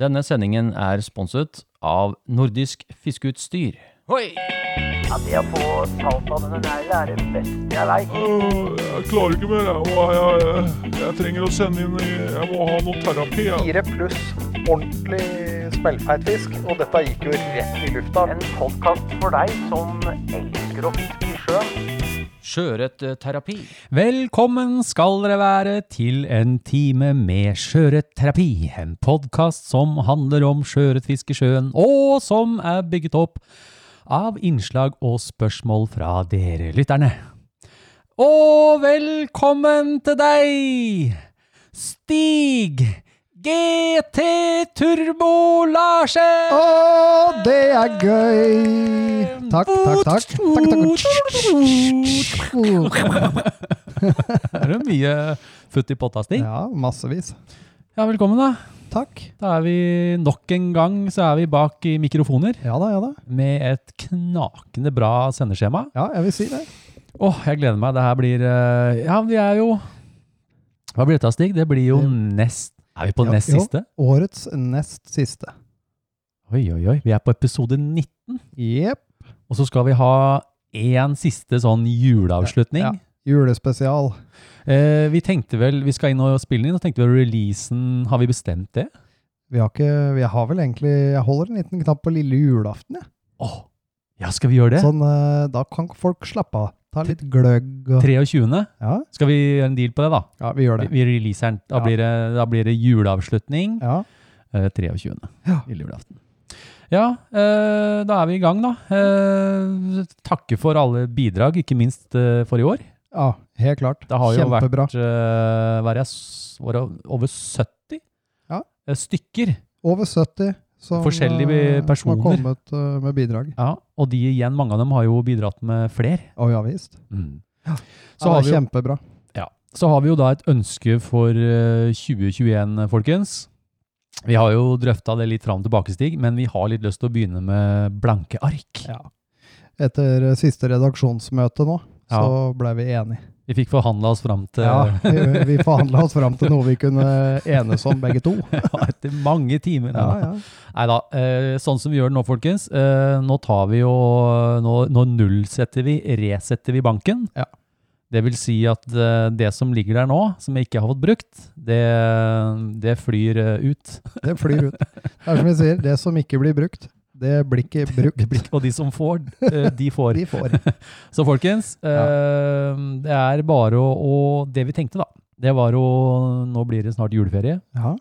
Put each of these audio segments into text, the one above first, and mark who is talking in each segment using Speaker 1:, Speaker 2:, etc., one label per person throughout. Speaker 1: Denne sendingen er sponset av Nordisk Fiskeutstyr. Hoi!
Speaker 2: Ja, det å få talt av denne negla er det beste jeg veit.
Speaker 3: Øh, Jeg klarer ikke mer. Jeg, Og jeg, jeg, jeg trenger å sende inn i- Jeg må ha noe terapi. Jeg.
Speaker 4: Fire pluss ordentlig smellfeit fisk, og dette gikk jo rett i lufta.
Speaker 2: En podkast for deg som elsker å fiske i sjøen.
Speaker 1: Sjøørretterapi.
Speaker 5: Velkommen skal dere være til en time med Sjøørretterapi, en podkast som handler om sjøørretfiske i sjøen, og som er bygget opp av innslag og spørsmål fra dere lytterne. Og velkommen til deg, Stig GT Turbo Larsen!
Speaker 6: Å, det er gøy! Takk, takk, takk. takk, takk, takk.
Speaker 5: Er det mye futt i potta, Stig?
Speaker 6: Ja, massevis.
Speaker 5: Ja, velkommen, da.
Speaker 6: Takk.
Speaker 5: Da er vi nok en gang så er vi bak i mikrofoner.
Speaker 6: Ja da, ja da.
Speaker 5: med et knakende bra sendeskjema.
Speaker 6: Ja, jeg vil si det.
Speaker 5: Åh, jeg gleder meg. Det her blir eh, Ja, vi er jo Hva blir dette, Stig? Det blir jo
Speaker 6: Det-
Speaker 5: nest Er vi på
Speaker 6: Ja,
Speaker 5: nest
Speaker 6: jo.
Speaker 5: siste?
Speaker 6: Årets nest siste.
Speaker 5: Oi, oi, oi. Vi er på episode 19,
Speaker 6: Jepp.
Speaker 5: og så skal vi ha én siste sånn juleavslutning.
Speaker 6: Ja, Julespesial.
Speaker 5: Eh, vi tenkte vel Vi skal inn og spille den inn, og tenkte vel releasen Har vi bestemt det?
Speaker 6: Vi har ikke Vi har vel egentlig Jeg holder en liten knapp på lille julaften, jeg.
Speaker 5: Åh, ja, skal vi gjøre det?
Speaker 6: Sånn, eh, da kan folk slappe av. Ta litt gløgg og
Speaker 5: 23.
Speaker 6: Ja,
Speaker 5: Skal vi gjøre en deal på det, da?
Speaker 6: ja vi gjør
Speaker 5: Vi,
Speaker 6: det.
Speaker 5: vi releaser den. Da,
Speaker 6: Ja.
Speaker 5: blir det, da blir det juleavslutning.
Speaker 6: Ja.
Speaker 5: Eh, 23.
Speaker 6: Ja.
Speaker 5: Lille julaften. Ja, eh, da er vi i gang, da. Eh, takke for alle bidrag, ikke minst eh, for i år.
Speaker 6: ja helt klart.
Speaker 5: Det har jo
Speaker 6: Kjempebra.
Speaker 5: vært eh, hva er det, s- var det over 70
Speaker 6: Ja.
Speaker 5: eh, stykker.
Speaker 6: Over 70 som,
Speaker 5: Forskjellige
Speaker 6: eh, som
Speaker 5: personer.
Speaker 6: har kommet eh, med bidrag.
Speaker 5: Ja, og de igjen, mange av dem har jo bidratt med fler.
Speaker 6: Å ja visst.
Speaker 5: Så,
Speaker 6: ja,
Speaker 5: har
Speaker 6: det
Speaker 5: vi
Speaker 6: er
Speaker 5: jo,
Speaker 6: kjempebra.
Speaker 5: så har vi jo da et ønske for eh, 2021, folkens. Vi har jo drøfta det litt fram og tilbake, Stig, men vi har litt lyst til å begynne med blanke ark.
Speaker 6: Ja. Etter eh, siste redaksjonsmøte nå,
Speaker 5: Ja.
Speaker 6: så ble vi enige.
Speaker 5: Vi fikk forhandla oss fram til
Speaker 6: Ja, vi, vi forhandla oss fram til noe vi kunne enes om, begge to.
Speaker 5: Ja, etter mange timer.
Speaker 6: Ja, ja.
Speaker 5: Nei da. Sånn som vi gjør det nå, folkens. eh, Nå tar vi jo Nå, nå nullsetter vi, resetter vi banken.
Speaker 6: Ja.
Speaker 5: Det vil si at eh, det som ligger der nå, som jeg ikke har fått brukt, det, det flyr eh, ut.
Speaker 6: Det flyr ut. Det er som vi sier, det som ikke blir brukt, det blir ikke brukt.
Speaker 5: Og de som får, eh, de får.
Speaker 6: De får.
Speaker 5: Så folkens, eh, det er bare å, å Det vi tenkte, da, det var å Nå blir det snart juleferie.
Speaker 6: Ja,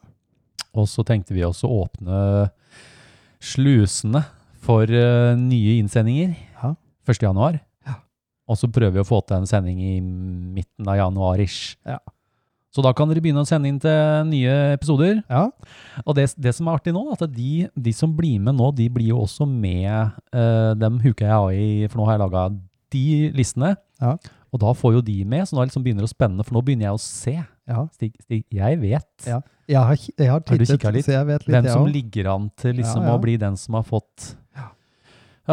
Speaker 5: Og så tenkte vi også å åpne slusene for eh, nye innsendinger
Speaker 6: Ja.
Speaker 5: 1. januar.
Speaker 6: Ja.
Speaker 5: Og så prøver vi å få til en sending i midten av januar-ish.
Speaker 6: Ja.
Speaker 5: Så da kan dere begynne å sende inn til nye episoder.
Speaker 6: ja,
Speaker 5: Og det, det som er artig nå, at de, de som blir med nå, de blir jo også med eh, dem huka jeg av i, for nå har jeg laga de listene.
Speaker 6: Ja.
Speaker 5: Og da får jo de med, så nå liksom begynner det å spenne, for nå begynner jeg å se.
Speaker 6: ja.
Speaker 5: Stig, Stig, jeg vet.
Speaker 6: Ja. Jeg har, ki- jeg har
Speaker 5: Har du
Speaker 6: tittet,
Speaker 5: kikket litt?
Speaker 6: så jeg vet litt,
Speaker 5: Hvem
Speaker 6: jeg
Speaker 5: som
Speaker 6: også.
Speaker 5: ligger an til liksom
Speaker 6: Ja, ja.
Speaker 5: å bli den som har fått
Speaker 6: Det
Speaker 5: ja,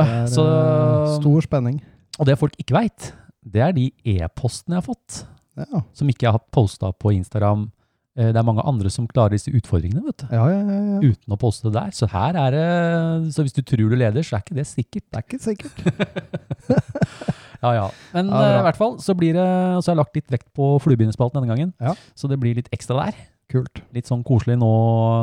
Speaker 6: er,
Speaker 5: så,
Speaker 6: eh, stor spenning.
Speaker 5: Og det folk ikke veit, det er de e-postene jeg har fått,
Speaker 6: Ja,
Speaker 5: som ikke jeg har posta på Instagram. Eh, Det er mange andre som klarer disse utfordringene vet du,
Speaker 6: ja, ja. ja, ja.
Speaker 5: uten å poste det der. Så her er det, så hvis du tror du leder, så er ikke det sikkert.
Speaker 6: Det er ikke sikkert.
Speaker 5: Ja, ja. Men
Speaker 6: Ja, bra.
Speaker 5: eh, i hvert fall så blir det, og så har jeg lagt litt vekt på fluebindespalten denne gangen.
Speaker 6: Ja.
Speaker 5: Så det blir litt ekstra der.
Speaker 6: Kult.
Speaker 5: Litt sånn koselig nå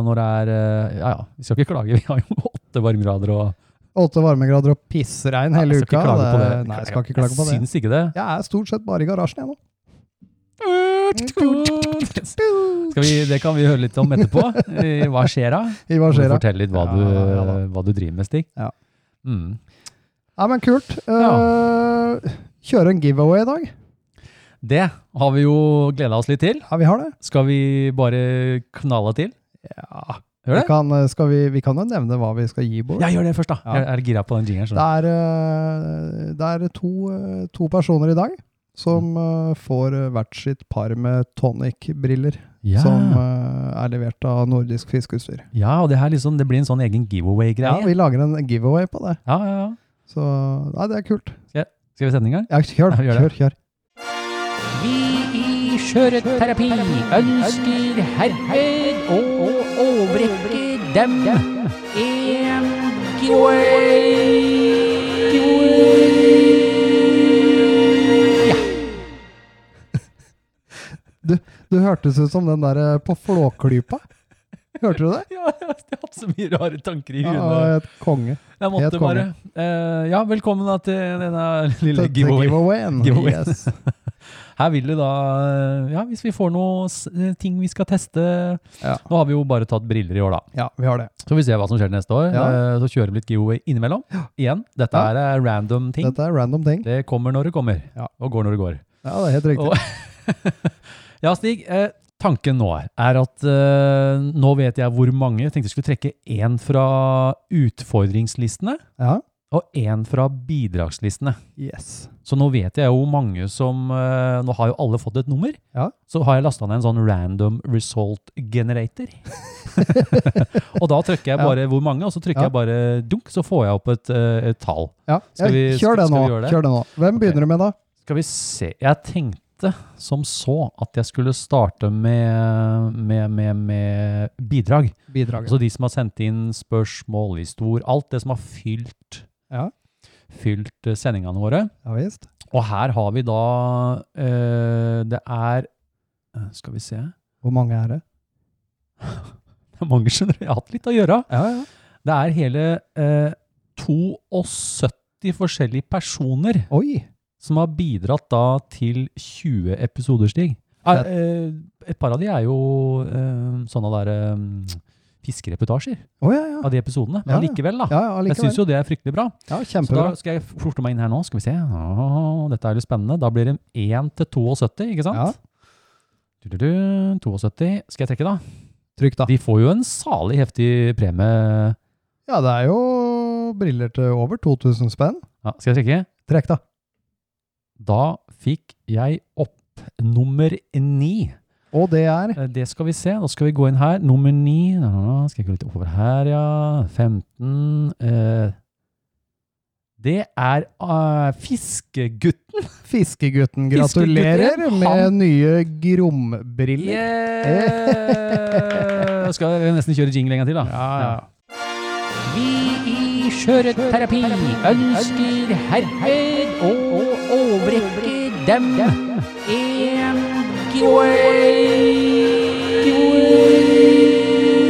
Speaker 5: når det er eh, Ja ja, vi skal ikke klage. Vi har jo åtte varmegrader og
Speaker 6: Åtte varmegrader og pissregn hele
Speaker 5: jeg skal
Speaker 6: uka.
Speaker 5: ikke klage på det.
Speaker 6: Nei, jeg skal ikke klage på det.
Speaker 5: Jeg syns ikke det.
Speaker 6: Jeg er stort sett bare i garasjen, jeg nå.
Speaker 5: Skal vi, det kan vi høre litt om etterpå. Eh, Hva skjer da?
Speaker 6: I hva
Speaker 5: Kan du
Speaker 6: skjer da?
Speaker 5: fortelle litt hva,
Speaker 6: Ja,
Speaker 5: du,
Speaker 6: ja da.
Speaker 5: hva du driver med, Stig?
Speaker 6: Ja.
Speaker 5: Mm.
Speaker 6: Ja, men kult. Eh, kjøre en giveaway i dag.
Speaker 5: Det har vi jo gleda oss litt til.
Speaker 6: Ja, vi har det.
Speaker 5: Skal vi bare knalla til?
Speaker 6: Ja.
Speaker 5: Gjør
Speaker 6: Vi
Speaker 5: det?
Speaker 6: kan, eh, skal vi, vi kan jo nevne hva vi skal gi bort.
Speaker 5: Ja, gjør det først, da.
Speaker 6: Ja.
Speaker 5: Jeg er gira på den jingeren.
Speaker 6: Det
Speaker 5: skjønner
Speaker 6: er, eh, det er to, eh, to personer i dag som eh, får eh, hvert sitt par med tonic-briller
Speaker 5: du. Ja.
Speaker 6: som eh, er levert av Nordisk Fiskeutstyr.
Speaker 5: ja, og det her liksom, det blir en sånn egen
Speaker 6: Ja,
Speaker 5: giveaway-greie.
Speaker 6: vi lager en giveaway på det.
Speaker 5: Ja, ja, ja.
Speaker 6: Så nei, det er kult.
Speaker 5: Skal vi sette den i gang?
Speaker 6: Ja, kjør,
Speaker 5: Ja, vi gjør
Speaker 6: kjør,
Speaker 5: det.
Speaker 6: kjør.
Speaker 5: Vi i Sjøørretterapi ønsker herved å overrekke Dem en giveaway.
Speaker 6: Du hørtes ut som den der eh, på Flåklypa. Hørte du det?
Speaker 5: Ja, jeg har hatt så mye rare tanker i
Speaker 6: Ja,
Speaker 5: huet.
Speaker 6: et konge.
Speaker 5: Jeg måtte
Speaker 6: helt konge.
Speaker 5: bare Eh, Ja, velkommen da til denne lille
Speaker 6: Dette
Speaker 5: giveawayen.
Speaker 6: giveawayen.
Speaker 5: Giveaway.
Speaker 6: Yes.
Speaker 5: Her vil det da eh, Ja, hvis vi får noe s- eh, ting vi skal teste
Speaker 6: Ja.
Speaker 5: Nå har vi jo bare tatt briller i år, da.
Speaker 6: Ja, vi har det.
Speaker 5: Så får vi se hva som skjer neste år.
Speaker 6: Ja.
Speaker 5: Eh, Så kjører vi litt giveaway innimellom. Igjen, dette
Speaker 6: Ja.
Speaker 5: her er eh, random ting.
Speaker 6: Dette er random ting.
Speaker 5: Det kommer når det kommer,
Speaker 6: Ja.
Speaker 5: og går når det går.
Speaker 6: Ja, det er helt riktig.
Speaker 5: Og- ja, Stig. Eh, tanken nå er, er at eh, nå vet jeg hvor mange. Jeg tenkte jeg skulle trekke én fra utfordringslistene
Speaker 6: Ja.
Speaker 5: og én fra bidragslistene.
Speaker 6: Yes.
Speaker 5: Så nå vet jeg jo hvor mange som eh, Nå har jo alle fått et nummer.
Speaker 6: Ja.
Speaker 5: Så har jeg lasta ned en sånn random result generator. og da trykker jeg
Speaker 6: Ja.
Speaker 5: bare hvor mange, og så trykker
Speaker 6: Ja.
Speaker 5: jeg bare dunk, så får jeg opp et, eh, et tall.
Speaker 6: Ja,
Speaker 5: Skal vi-
Speaker 6: ja, kjør det
Speaker 5: skal vi
Speaker 6: nå.
Speaker 5: gjøre det?
Speaker 6: Kjør det nå. Hvem
Speaker 5: Ok.
Speaker 6: begynner du med, da?
Speaker 5: Skal vi se Jeg tenkte som så at jeg skulle starte med, med, med, med bidrag.
Speaker 6: Bidraget.
Speaker 5: Altså de som har sendt inn spørsmål, historier, alt det som har fylt,
Speaker 6: Ja.
Speaker 5: fylt eh, sendingene våre.
Speaker 6: Ja visst.
Speaker 5: Og her har vi da eh, Det er eh, Skal vi se Det
Speaker 6: Hvor mange er det?
Speaker 5: er mange, skjønner du. Jeg har hatt litt å gjøre.
Speaker 6: Ja, ja.
Speaker 5: Det er hele eh, 72 forskjellige personer
Speaker 6: Oi!
Speaker 5: som har bidratt da til 20 episoder, Stig. Eh,
Speaker 6: Fett.
Speaker 5: eh, et par av de er jo eh, sånne der eh, fiskereportasjer
Speaker 6: Å ja, ja.
Speaker 5: av de episodene. Men
Speaker 6: Ja, ja.
Speaker 5: likevel, da.
Speaker 6: Ja, ja,
Speaker 5: Jeg syns
Speaker 6: allikevel.
Speaker 5: jo det er fryktelig bra.
Speaker 6: Ja,
Speaker 5: Så da
Speaker 6: kjempebra.
Speaker 5: skal jeg forte meg inn her nå. Skal vi se. Åh, dette er litt spennende. Da blir det 1 til 72, ikke sant?
Speaker 6: Ja.
Speaker 5: Du, du, du, 72. Skal jeg trekke, da?
Speaker 6: Trykk, da.
Speaker 5: De får jo en salig heftig premie.
Speaker 6: Ja, det er jo briller til over 2000 spenn.
Speaker 5: Ja, skal jeg trekke?
Speaker 6: Trekk, da.
Speaker 5: Da fikk jeg opp nummer ni.
Speaker 6: Og det er
Speaker 5: Eh, Det skal vi se. Da skal vi gå inn her. Nummer 9. Da, da, da. Skal jeg gå litt oppover her, ja. 15. Eh, det er eh, Fiskegutten.
Speaker 6: Fiskegutten.
Speaker 5: Fiskegutten,
Speaker 6: Gratulerer med
Speaker 5: han-
Speaker 6: nye grombriller.
Speaker 5: Yeah! skal jeg nesten kjøre jingle en gang til, da. Vi i Skjøreterapi ønsker herved å overrekke dem en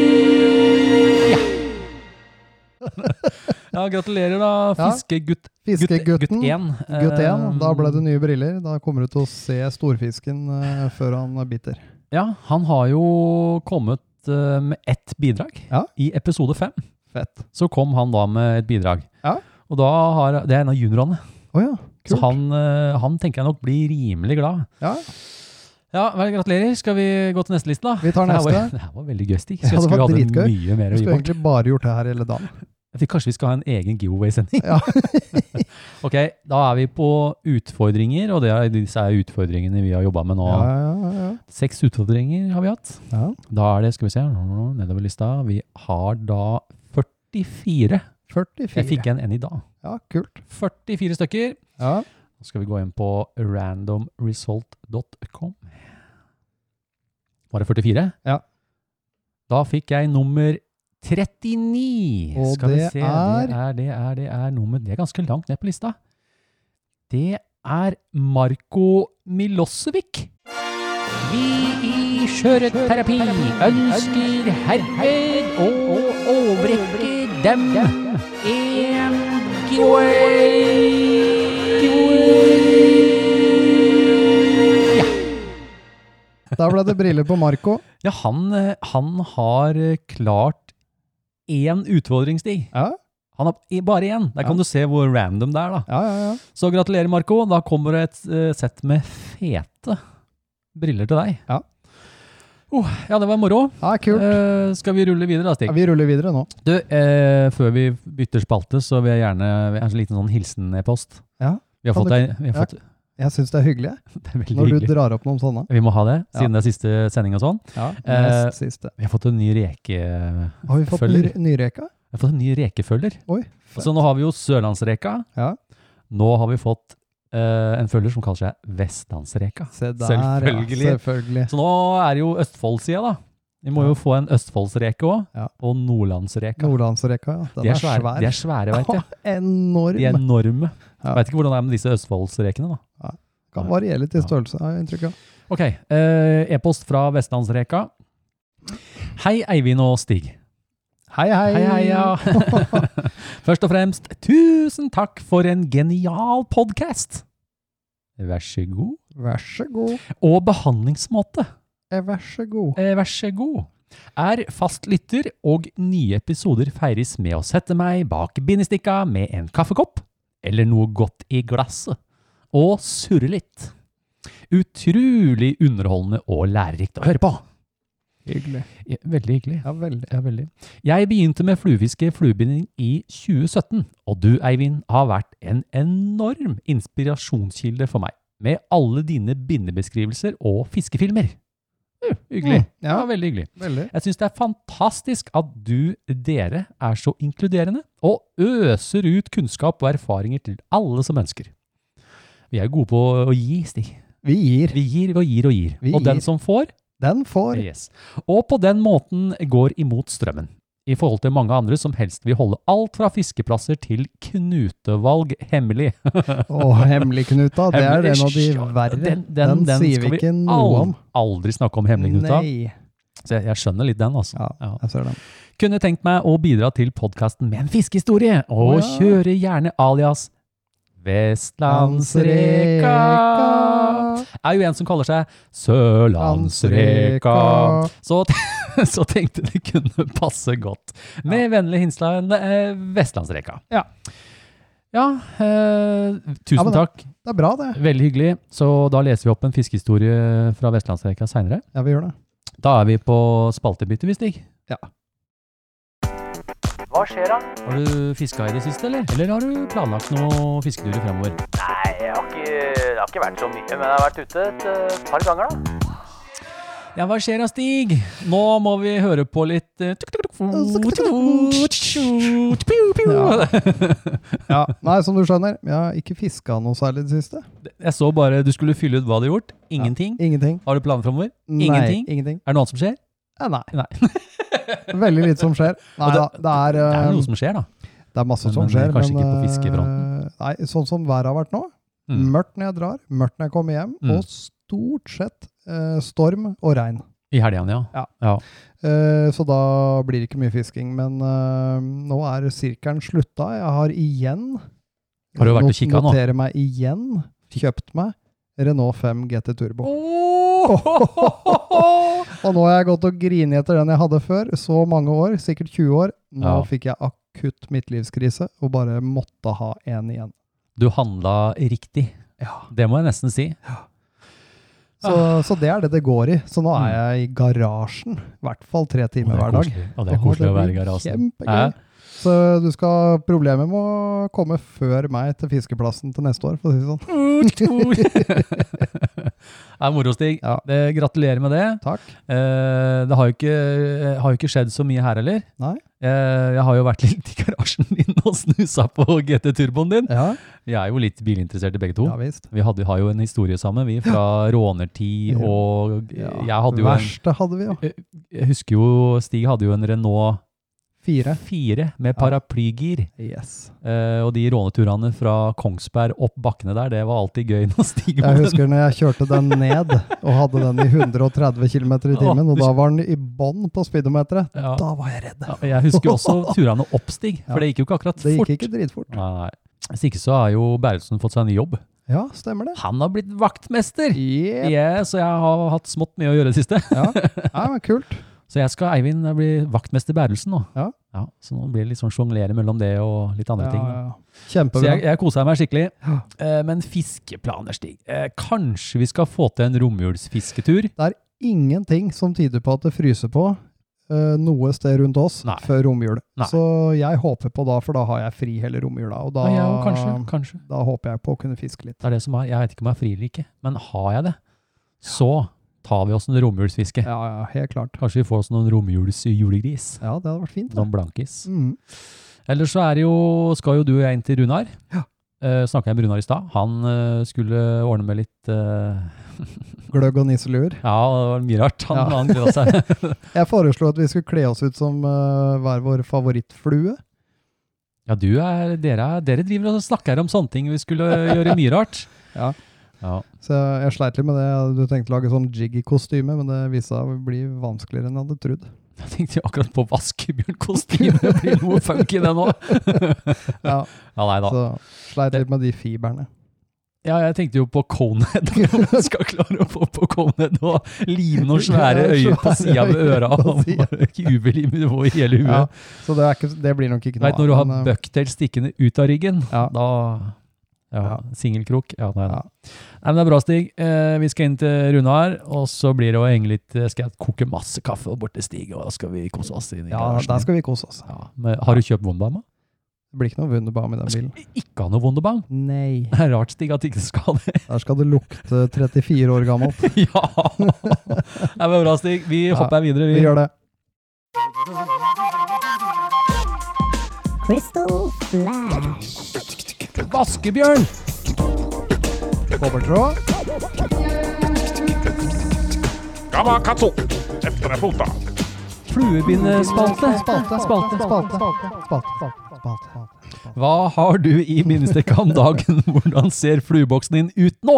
Speaker 5: giveaway. Ja, gratulerer da,
Speaker 6: Ja.
Speaker 5: fiskegutt gutt, Eh,
Speaker 6: Fiskegutten.
Speaker 5: gutt 1.
Speaker 6: Gutt 1. Da ble det nye briller. Da kommer du til å se storfisken eh, før han biter.
Speaker 5: Ja, han har jo kommet eh, med ett bidrag
Speaker 6: Ja.
Speaker 5: i episode 5.
Speaker 6: Fett.
Speaker 5: så kom han da med et bidrag.
Speaker 6: Ja.
Speaker 5: Og da har, Det er en av juniorene,
Speaker 6: Å ja.
Speaker 5: så
Speaker 6: Kult.
Speaker 5: han, eh, han tenker jeg nok blir rimelig glad.
Speaker 6: ja.
Speaker 5: Ja, vel, Gratulerer. Skal vi gå til neste liste, da?
Speaker 6: Vi tar
Speaker 5: Det her var,
Speaker 6: neste.
Speaker 5: det her var veldig gøy, Stig.
Speaker 6: Ja,
Speaker 5: Så jeg
Speaker 6: det
Speaker 5: skulle
Speaker 6: var
Speaker 5: hatt
Speaker 6: dritgøy.
Speaker 5: mye mer
Speaker 6: Vi
Speaker 5: å gi
Speaker 6: skulle
Speaker 5: bort.
Speaker 6: egentlig bare gjort det her hele dagen.
Speaker 5: Jeg tror kanskje vi skal ha en egen giveaway-sending.
Speaker 6: Ja.
Speaker 5: ok, Da er vi på utfordringer, og det er disse er utfordringene vi har jobba med nå.
Speaker 6: Ja, ja, ja, ja.
Speaker 5: Seks utfordringer har vi hatt.
Speaker 6: ja.
Speaker 5: Da er det, skal vi se, nedover lista Vi har da 44. Jeg
Speaker 6: 44.
Speaker 5: fikk en en i dag.
Speaker 6: Ja, kult.
Speaker 5: 44 stykker.
Speaker 6: Ja.
Speaker 5: Nå skal vi gå inn på randomresult.com. Var det 44?
Speaker 6: Ja.
Speaker 5: Da fikk jeg nummer 39.
Speaker 6: Og
Speaker 5: skal vi
Speaker 6: det
Speaker 5: se.
Speaker 6: er-
Speaker 5: Det er, det er, det er nummer Det er ganske langt ned på lista. Det er Marko Milosevic. Vi i Skjøreterapi ønsker herved å overrekke dem en giveaway. Ja.
Speaker 6: Da ble det briller på Marco.
Speaker 5: Ja, han, eh, han har eh, klart én utfordringsstig.
Speaker 6: Ja,
Speaker 5: Han har i- bare én. Der kan
Speaker 6: Ja.
Speaker 5: du se hvor random det er, da.
Speaker 6: ja, ja. ja.
Speaker 5: Så gratulerer, Marco. Da kommer det et eh, sett med fete briller til deg.
Speaker 6: Ja.
Speaker 5: Oh, ja, det var moro.
Speaker 6: ja kult.
Speaker 5: Eh, skal vi rulle videre da, Stig?
Speaker 6: Ja, vi ruller videre nå.
Speaker 5: Du, eh, før vi bytter spalte, så vil jeg gjerne jeg har en liten sånn hilsen-e-post.
Speaker 6: Ja,
Speaker 5: Vi har
Speaker 6: kan
Speaker 5: fått
Speaker 6: du-
Speaker 5: ei- vi har
Speaker 6: ja.
Speaker 5: fått-
Speaker 6: Jeg syns det er hyggelig jeg,
Speaker 5: Det er veldig
Speaker 6: når du
Speaker 5: hyggelig.
Speaker 6: drar opp noen sånne.
Speaker 5: Vi må ha det,
Speaker 6: Ja.
Speaker 5: siden det er siste sending og sånn.
Speaker 6: Ja,
Speaker 5: Eh,
Speaker 6: Nest siste.
Speaker 5: Vi har fått en ny reke...
Speaker 6: Har vi fått ny,
Speaker 5: følger.
Speaker 6: nyreka?
Speaker 5: Jeg har fått en ny rekefølger.
Speaker 6: Oi.
Speaker 5: Så nå har vi jo Sørlandsreka.
Speaker 6: Ja.
Speaker 5: Nå har vi fått eh, en følger som kaller seg Vestlandsreka.
Speaker 6: Se der,
Speaker 5: Selvfølgelig.
Speaker 6: Ja, selvfølgelig.
Speaker 5: Så nå er det jo Østfoldsida, da. Vi må jo få en østfoldsreke òg,
Speaker 6: Ja.
Speaker 5: og nordlandsreka.
Speaker 6: Nordlandsreka, ja. Den
Speaker 5: de er svære, De er svære, veit jeg.
Speaker 6: Enorm.
Speaker 5: De er enorme.
Speaker 6: Ja.
Speaker 5: Veit ikke hvordan det er med disse østfoldsrekene, da.
Speaker 6: Kan variere litt i
Speaker 5: Ja.
Speaker 6: størrelse, har jeg inntrykk av.
Speaker 5: Ok, eh, e-post fra Vestlandsreka. Hei Eivind og Stig.
Speaker 6: Hei, hei.
Speaker 5: Hei, hei, ja. Først og fremst, tusen takk for en genial podkast! Vær så god.
Speaker 6: Vær så god.
Speaker 5: Og behandlingsmåte.
Speaker 6: Eh, Vær så god.
Speaker 5: Eh, vær så god. Er fast lytter, og nye episoder feires med å sette meg bak bindestikka med en kaffekopp, eller noe godt i glasset, og surre litt. Utrolig underholdende og lærerikt å høre på.
Speaker 6: Hyggelig.
Speaker 5: Ja, Veldig hyggelig.
Speaker 6: Ja, veldig.
Speaker 5: Ja, veldig. Jeg begynte med fluefiske fluebinding i 2017, og du, Eivind, har vært en enorm inspirasjonskilde for meg, med alle dine bindebeskrivelser og fiskefilmer. Uh, hyggelig.
Speaker 6: Mm, ja.
Speaker 5: ja, veldig hyggelig.
Speaker 6: Veldig.
Speaker 5: Jeg syns det er fantastisk at du, dere, er så inkluderende og øser ut kunnskap og erfaringer til alle som ønsker. Vi er gode på å gi, Stig.
Speaker 6: Vi gir.
Speaker 5: Vi gir og gir og gir.
Speaker 6: Vi
Speaker 5: og
Speaker 6: gir.
Speaker 5: den som får,
Speaker 6: Den får.
Speaker 5: yes. og på den måten går imot strømmen. I forhold til mange andre som helst vil holde alt fra fiskeplasser til knutevalg hemmelig.
Speaker 6: Og Hemmelig-Knuta, det er en av de verre.
Speaker 5: Den, den, den,
Speaker 6: sier
Speaker 5: skal
Speaker 6: vi ikke noe om.
Speaker 5: Aldri snakke om hemmelig-knuta.
Speaker 6: Nei.
Speaker 5: Så jeg, jeg skjønner litt den, altså.
Speaker 6: Ja,
Speaker 5: Ja.
Speaker 6: jeg ser den.
Speaker 5: Kunne tenkt meg å bidra til podkasten med en fiskehistorie, og
Speaker 6: Å, ja.
Speaker 5: kjøre gjerne alias Vestlandsreka er jo en som kaller seg Sørlandsreka. Så, t- så tenkte det kunne passe godt. Med vennlig hilsen eh, Vestlandsreka.
Speaker 6: Ja.
Speaker 5: Ja, eh,
Speaker 6: Ja,
Speaker 5: tusen
Speaker 6: men da-
Speaker 5: takk.
Speaker 6: Det er bra, det.
Speaker 5: Veldig hyggelig. Så da leser vi opp en fiskehistorie fra Vestlandsreka seinere.
Speaker 6: Ja, vi gjør det.
Speaker 5: Da er vi på spaltebytte, vi, Stig.
Speaker 2: Hva skjer da?
Speaker 5: Har du fiska i det siste, eller? Eller har du planlagt noe fisketurer fremover?
Speaker 2: Nei, jeg har ikke, det har ikke vært så mye, men jeg har vært ute et eh, par ganger da.
Speaker 5: Ja, hva skjer da, Stig? Nå må vi høre på litt eh, tuk, tuk, tuk, tuk, tuk, tuk, tuk, piu,
Speaker 6: Ja.
Speaker 5: piu.
Speaker 6: Ja. Nei, som du skjønner, jeg har ikke fiska noe særlig i det siste.
Speaker 5: Jeg så bare du skulle fylle ut hva du har gjort. Ingenting.
Speaker 6: Ingenting.
Speaker 5: Har du planer fremover?
Speaker 6: Nei,
Speaker 5: Ingenting?
Speaker 6: ingenting.
Speaker 5: Er det noe annet som skjer?
Speaker 6: Ja, nei.
Speaker 5: Nei.
Speaker 6: Veldig lite som skjer. Nei da,
Speaker 5: Og
Speaker 6: det er,
Speaker 5: Det er
Speaker 6: eh,
Speaker 5: noe som skjer, da.
Speaker 6: det er masse
Speaker 5: Men-
Speaker 6: som
Speaker 5: men
Speaker 6: skjer.
Speaker 5: kanskje ikke på
Speaker 6: eh,
Speaker 5: fiskefronten?
Speaker 6: Nei, sånn som været har vært nå.
Speaker 5: Mm.
Speaker 6: Mørkt når jeg drar, mørkt når jeg kommer hjem,
Speaker 5: Mm.
Speaker 6: og stort sett eh, storm og regn.
Speaker 5: I helgene, ja.
Speaker 6: Ja.
Speaker 5: ja.
Speaker 6: Eh, så da blir det ikke mye fisking. Men eh, nå er sirkelen slutta. Jeg har igjen
Speaker 5: Har du vært og
Speaker 6: not-
Speaker 5: kikket nå?
Speaker 6: Noterer meg igjen. Kjøpt meg Renault 5 GT Turbo. Og nå har jeg gått og grinet etter den jeg hadde før, så mange år, sikkert 20 år. Nå
Speaker 5: Ja.
Speaker 6: fikk jeg akutt midtlivskrise og bare måtte ha en igjen.
Speaker 5: Du handla riktig. Det må jeg nesten si.
Speaker 6: Så,
Speaker 5: Ah.
Speaker 6: så det er det det går i. Så nå er jeg i garasjen, i hvert fall tre timer hver dag.
Speaker 5: Og det er koselig å
Speaker 6: Åh, det
Speaker 5: være i
Speaker 6: blir
Speaker 5: garasjen.
Speaker 6: kjempegøy.
Speaker 5: Hæ?
Speaker 6: Så du skal, problemet må komme før meg til fiskeplassen til neste år, for å si det sånn.
Speaker 5: Det er moro, Stig.
Speaker 6: Ja.
Speaker 5: Eh, Gratulerer med det.
Speaker 6: Takk.
Speaker 5: Eh, det har jo, ikke, eh, har jo ikke skjedd så mye her heller.
Speaker 6: Nei.
Speaker 5: Eh, jeg har jo vært litt i garasjen din og snusa på GT-turboen din.
Speaker 6: Ja,
Speaker 5: Vi er jo litt bilinteresserte begge to.
Speaker 6: ja visst.
Speaker 5: Vi hadde, har jo en historie sammen, vi, fra rånertid
Speaker 6: Ja.
Speaker 5: og
Speaker 6: Ja,
Speaker 5: Jeg hadde jo en
Speaker 6: Verste hadde vi, ja.
Speaker 5: Jeg husker jo Stig hadde jo en Renault
Speaker 6: Fire.
Speaker 5: 4 med
Speaker 6: Ja.
Speaker 5: paraplygir.
Speaker 6: Yes.
Speaker 5: Eh, og de råneturene fra Kongsberg opp bakkene der, det var alltid gøy når Stig var
Speaker 6: Jeg husker når jeg kjørte den ned og hadde den i 130 km i timen, og da var den i bånn på speedometeret.
Speaker 5: Ja.
Speaker 6: Da var jeg redd.
Speaker 5: Ja, og Jeg husker også turene opp, Stig, for
Speaker 6: Ja.
Speaker 5: det gikk jo ikke akkurat
Speaker 6: Det
Speaker 5: fort.
Speaker 6: gikk ikke dritfort.
Speaker 5: Nei, nei. Hvis ikke så har jo Berlesen fått seg en ny jobb.
Speaker 6: Ja, stemmer det.
Speaker 5: Han har blitt vaktmester!
Speaker 6: Yep.
Speaker 5: Yes, og jeg har hatt smått mye å gjøre i det siste.
Speaker 6: Ja, ja men kult.
Speaker 5: Så jeg skal, Eivind, bli vaktmester Berlesen nå.
Speaker 6: Ja.
Speaker 5: så nå blir det litt sånn sjonglere mellom det og litt andre
Speaker 6: Ja,
Speaker 5: ting.
Speaker 6: ja,
Speaker 5: Da.
Speaker 6: ja.
Speaker 5: Så
Speaker 6: Kjempebra.
Speaker 5: jeg, jeg kosa meg skikkelig.
Speaker 6: Ja.
Speaker 5: Eh, men fiskeplaner, Stig. Eh, kanskje vi skal få til en romjulsfisketur?
Speaker 6: Ingenting som tyder på at det fryser på eh, noe sted rundt oss
Speaker 5: Nei.
Speaker 6: før romjul.
Speaker 5: Nei.
Speaker 6: Så jeg håper på da, for da har jeg fri hele romjula. Og da,
Speaker 5: Ja, ja, kanskje, kanskje.
Speaker 6: da håper jeg på å kunne fiske litt.
Speaker 5: Det er det som er. Jeg vet ikke om jeg er fri eller ikke, men har jeg det, så tar vi oss en romjulsfiske.
Speaker 6: Ja, ja, helt klart.
Speaker 5: Kanskje vi får oss noen romjulsjulegris.
Speaker 6: Ja, det hadde vært fint. Da.
Speaker 5: Noen blankis.
Speaker 6: Mm.
Speaker 5: Ellers så er det jo, skal jo du og jeg inn til Runar.
Speaker 6: Ja.
Speaker 5: Uh, Snakka jeg med Runar i stad. Han eh, skulle ordne med litt eh,
Speaker 6: Gløgg og nisseluer.
Speaker 5: Ja, det var mye rart. Han,
Speaker 6: Ja.
Speaker 5: han gleda seg.
Speaker 6: Jeg foreslo at vi skulle kle oss ut som eh, hver vår favorittflue.
Speaker 5: Ja, du er, dere, er- dere driver og snakker om sånne ting. Vi skulle gjøre mye rart.
Speaker 6: Ja.
Speaker 5: Ja.
Speaker 6: Så jeg, jeg sleit litt med det. Jeg hadde tenkt å lage sånn jiggy-kostyme, men det viste seg å bli vanskeligere enn jeg hadde trodd.
Speaker 5: Jeg tenkte jo akkurat på vaskebjørnkostyme. Det blir noe funky, det nå.
Speaker 6: Ja,
Speaker 5: Ja, nei da.
Speaker 6: så sleit litt med de fiberne.
Speaker 5: Ja, jeg tenkte jo på Conehead. Om jeg skal klare å få på Conehead og lime noen svære
Speaker 6: Ja,
Speaker 5: øyer på
Speaker 6: svære
Speaker 5: sida ved
Speaker 6: øyer
Speaker 5: øra.
Speaker 6: på
Speaker 5: og
Speaker 6: siden.
Speaker 5: bare Jubelrim over hele
Speaker 6: Ja,
Speaker 5: huet.
Speaker 6: så det, er ikke, det blir nok ikke
Speaker 5: Du
Speaker 6: noe
Speaker 5: Veit når du har
Speaker 6: men, eh,
Speaker 5: bucktail stikkende ut av ryggen,
Speaker 6: Ja.
Speaker 5: da ja,
Speaker 6: Ja.
Speaker 5: Singelkrok. Ja, nei,
Speaker 6: Ja.
Speaker 5: da. nei, men det er bra, Stig. Eh, vi skal inn til Runar, og så blir det å henge litt eh, Skal jeg koke masse kaffe og bort til Stig, og da skal vi kose oss inn i
Speaker 6: Ja,
Speaker 5: garasjen.
Speaker 6: der skal vi kose oss.
Speaker 5: ja, men, har du kjøpt Wonderbaum? da?
Speaker 6: Det blir ikke noe Wunderbaum i den bilen.
Speaker 5: Ikke ha noe Wonderbaum?
Speaker 6: Nei.
Speaker 5: Det er rart, Stig, at ikke det skal det.
Speaker 6: Der skal det lukte 34 år gammelt.
Speaker 5: ja! Det var bra, Stig. Vi
Speaker 6: Ja,
Speaker 5: hopper videre.
Speaker 6: Vi gjør det.
Speaker 7: Crystal Flash.
Speaker 5: Vaskebjørn!
Speaker 6: Kobbertråd.
Speaker 3: Gamma katso! Efter deg fota.
Speaker 5: Fluebindespalte.
Speaker 6: Spalte, spalte, spalte. spalte, spalte, spalte.
Speaker 5: Hva har du i minnestykke om dagen? Hvordan ser flueboksen din ut nå?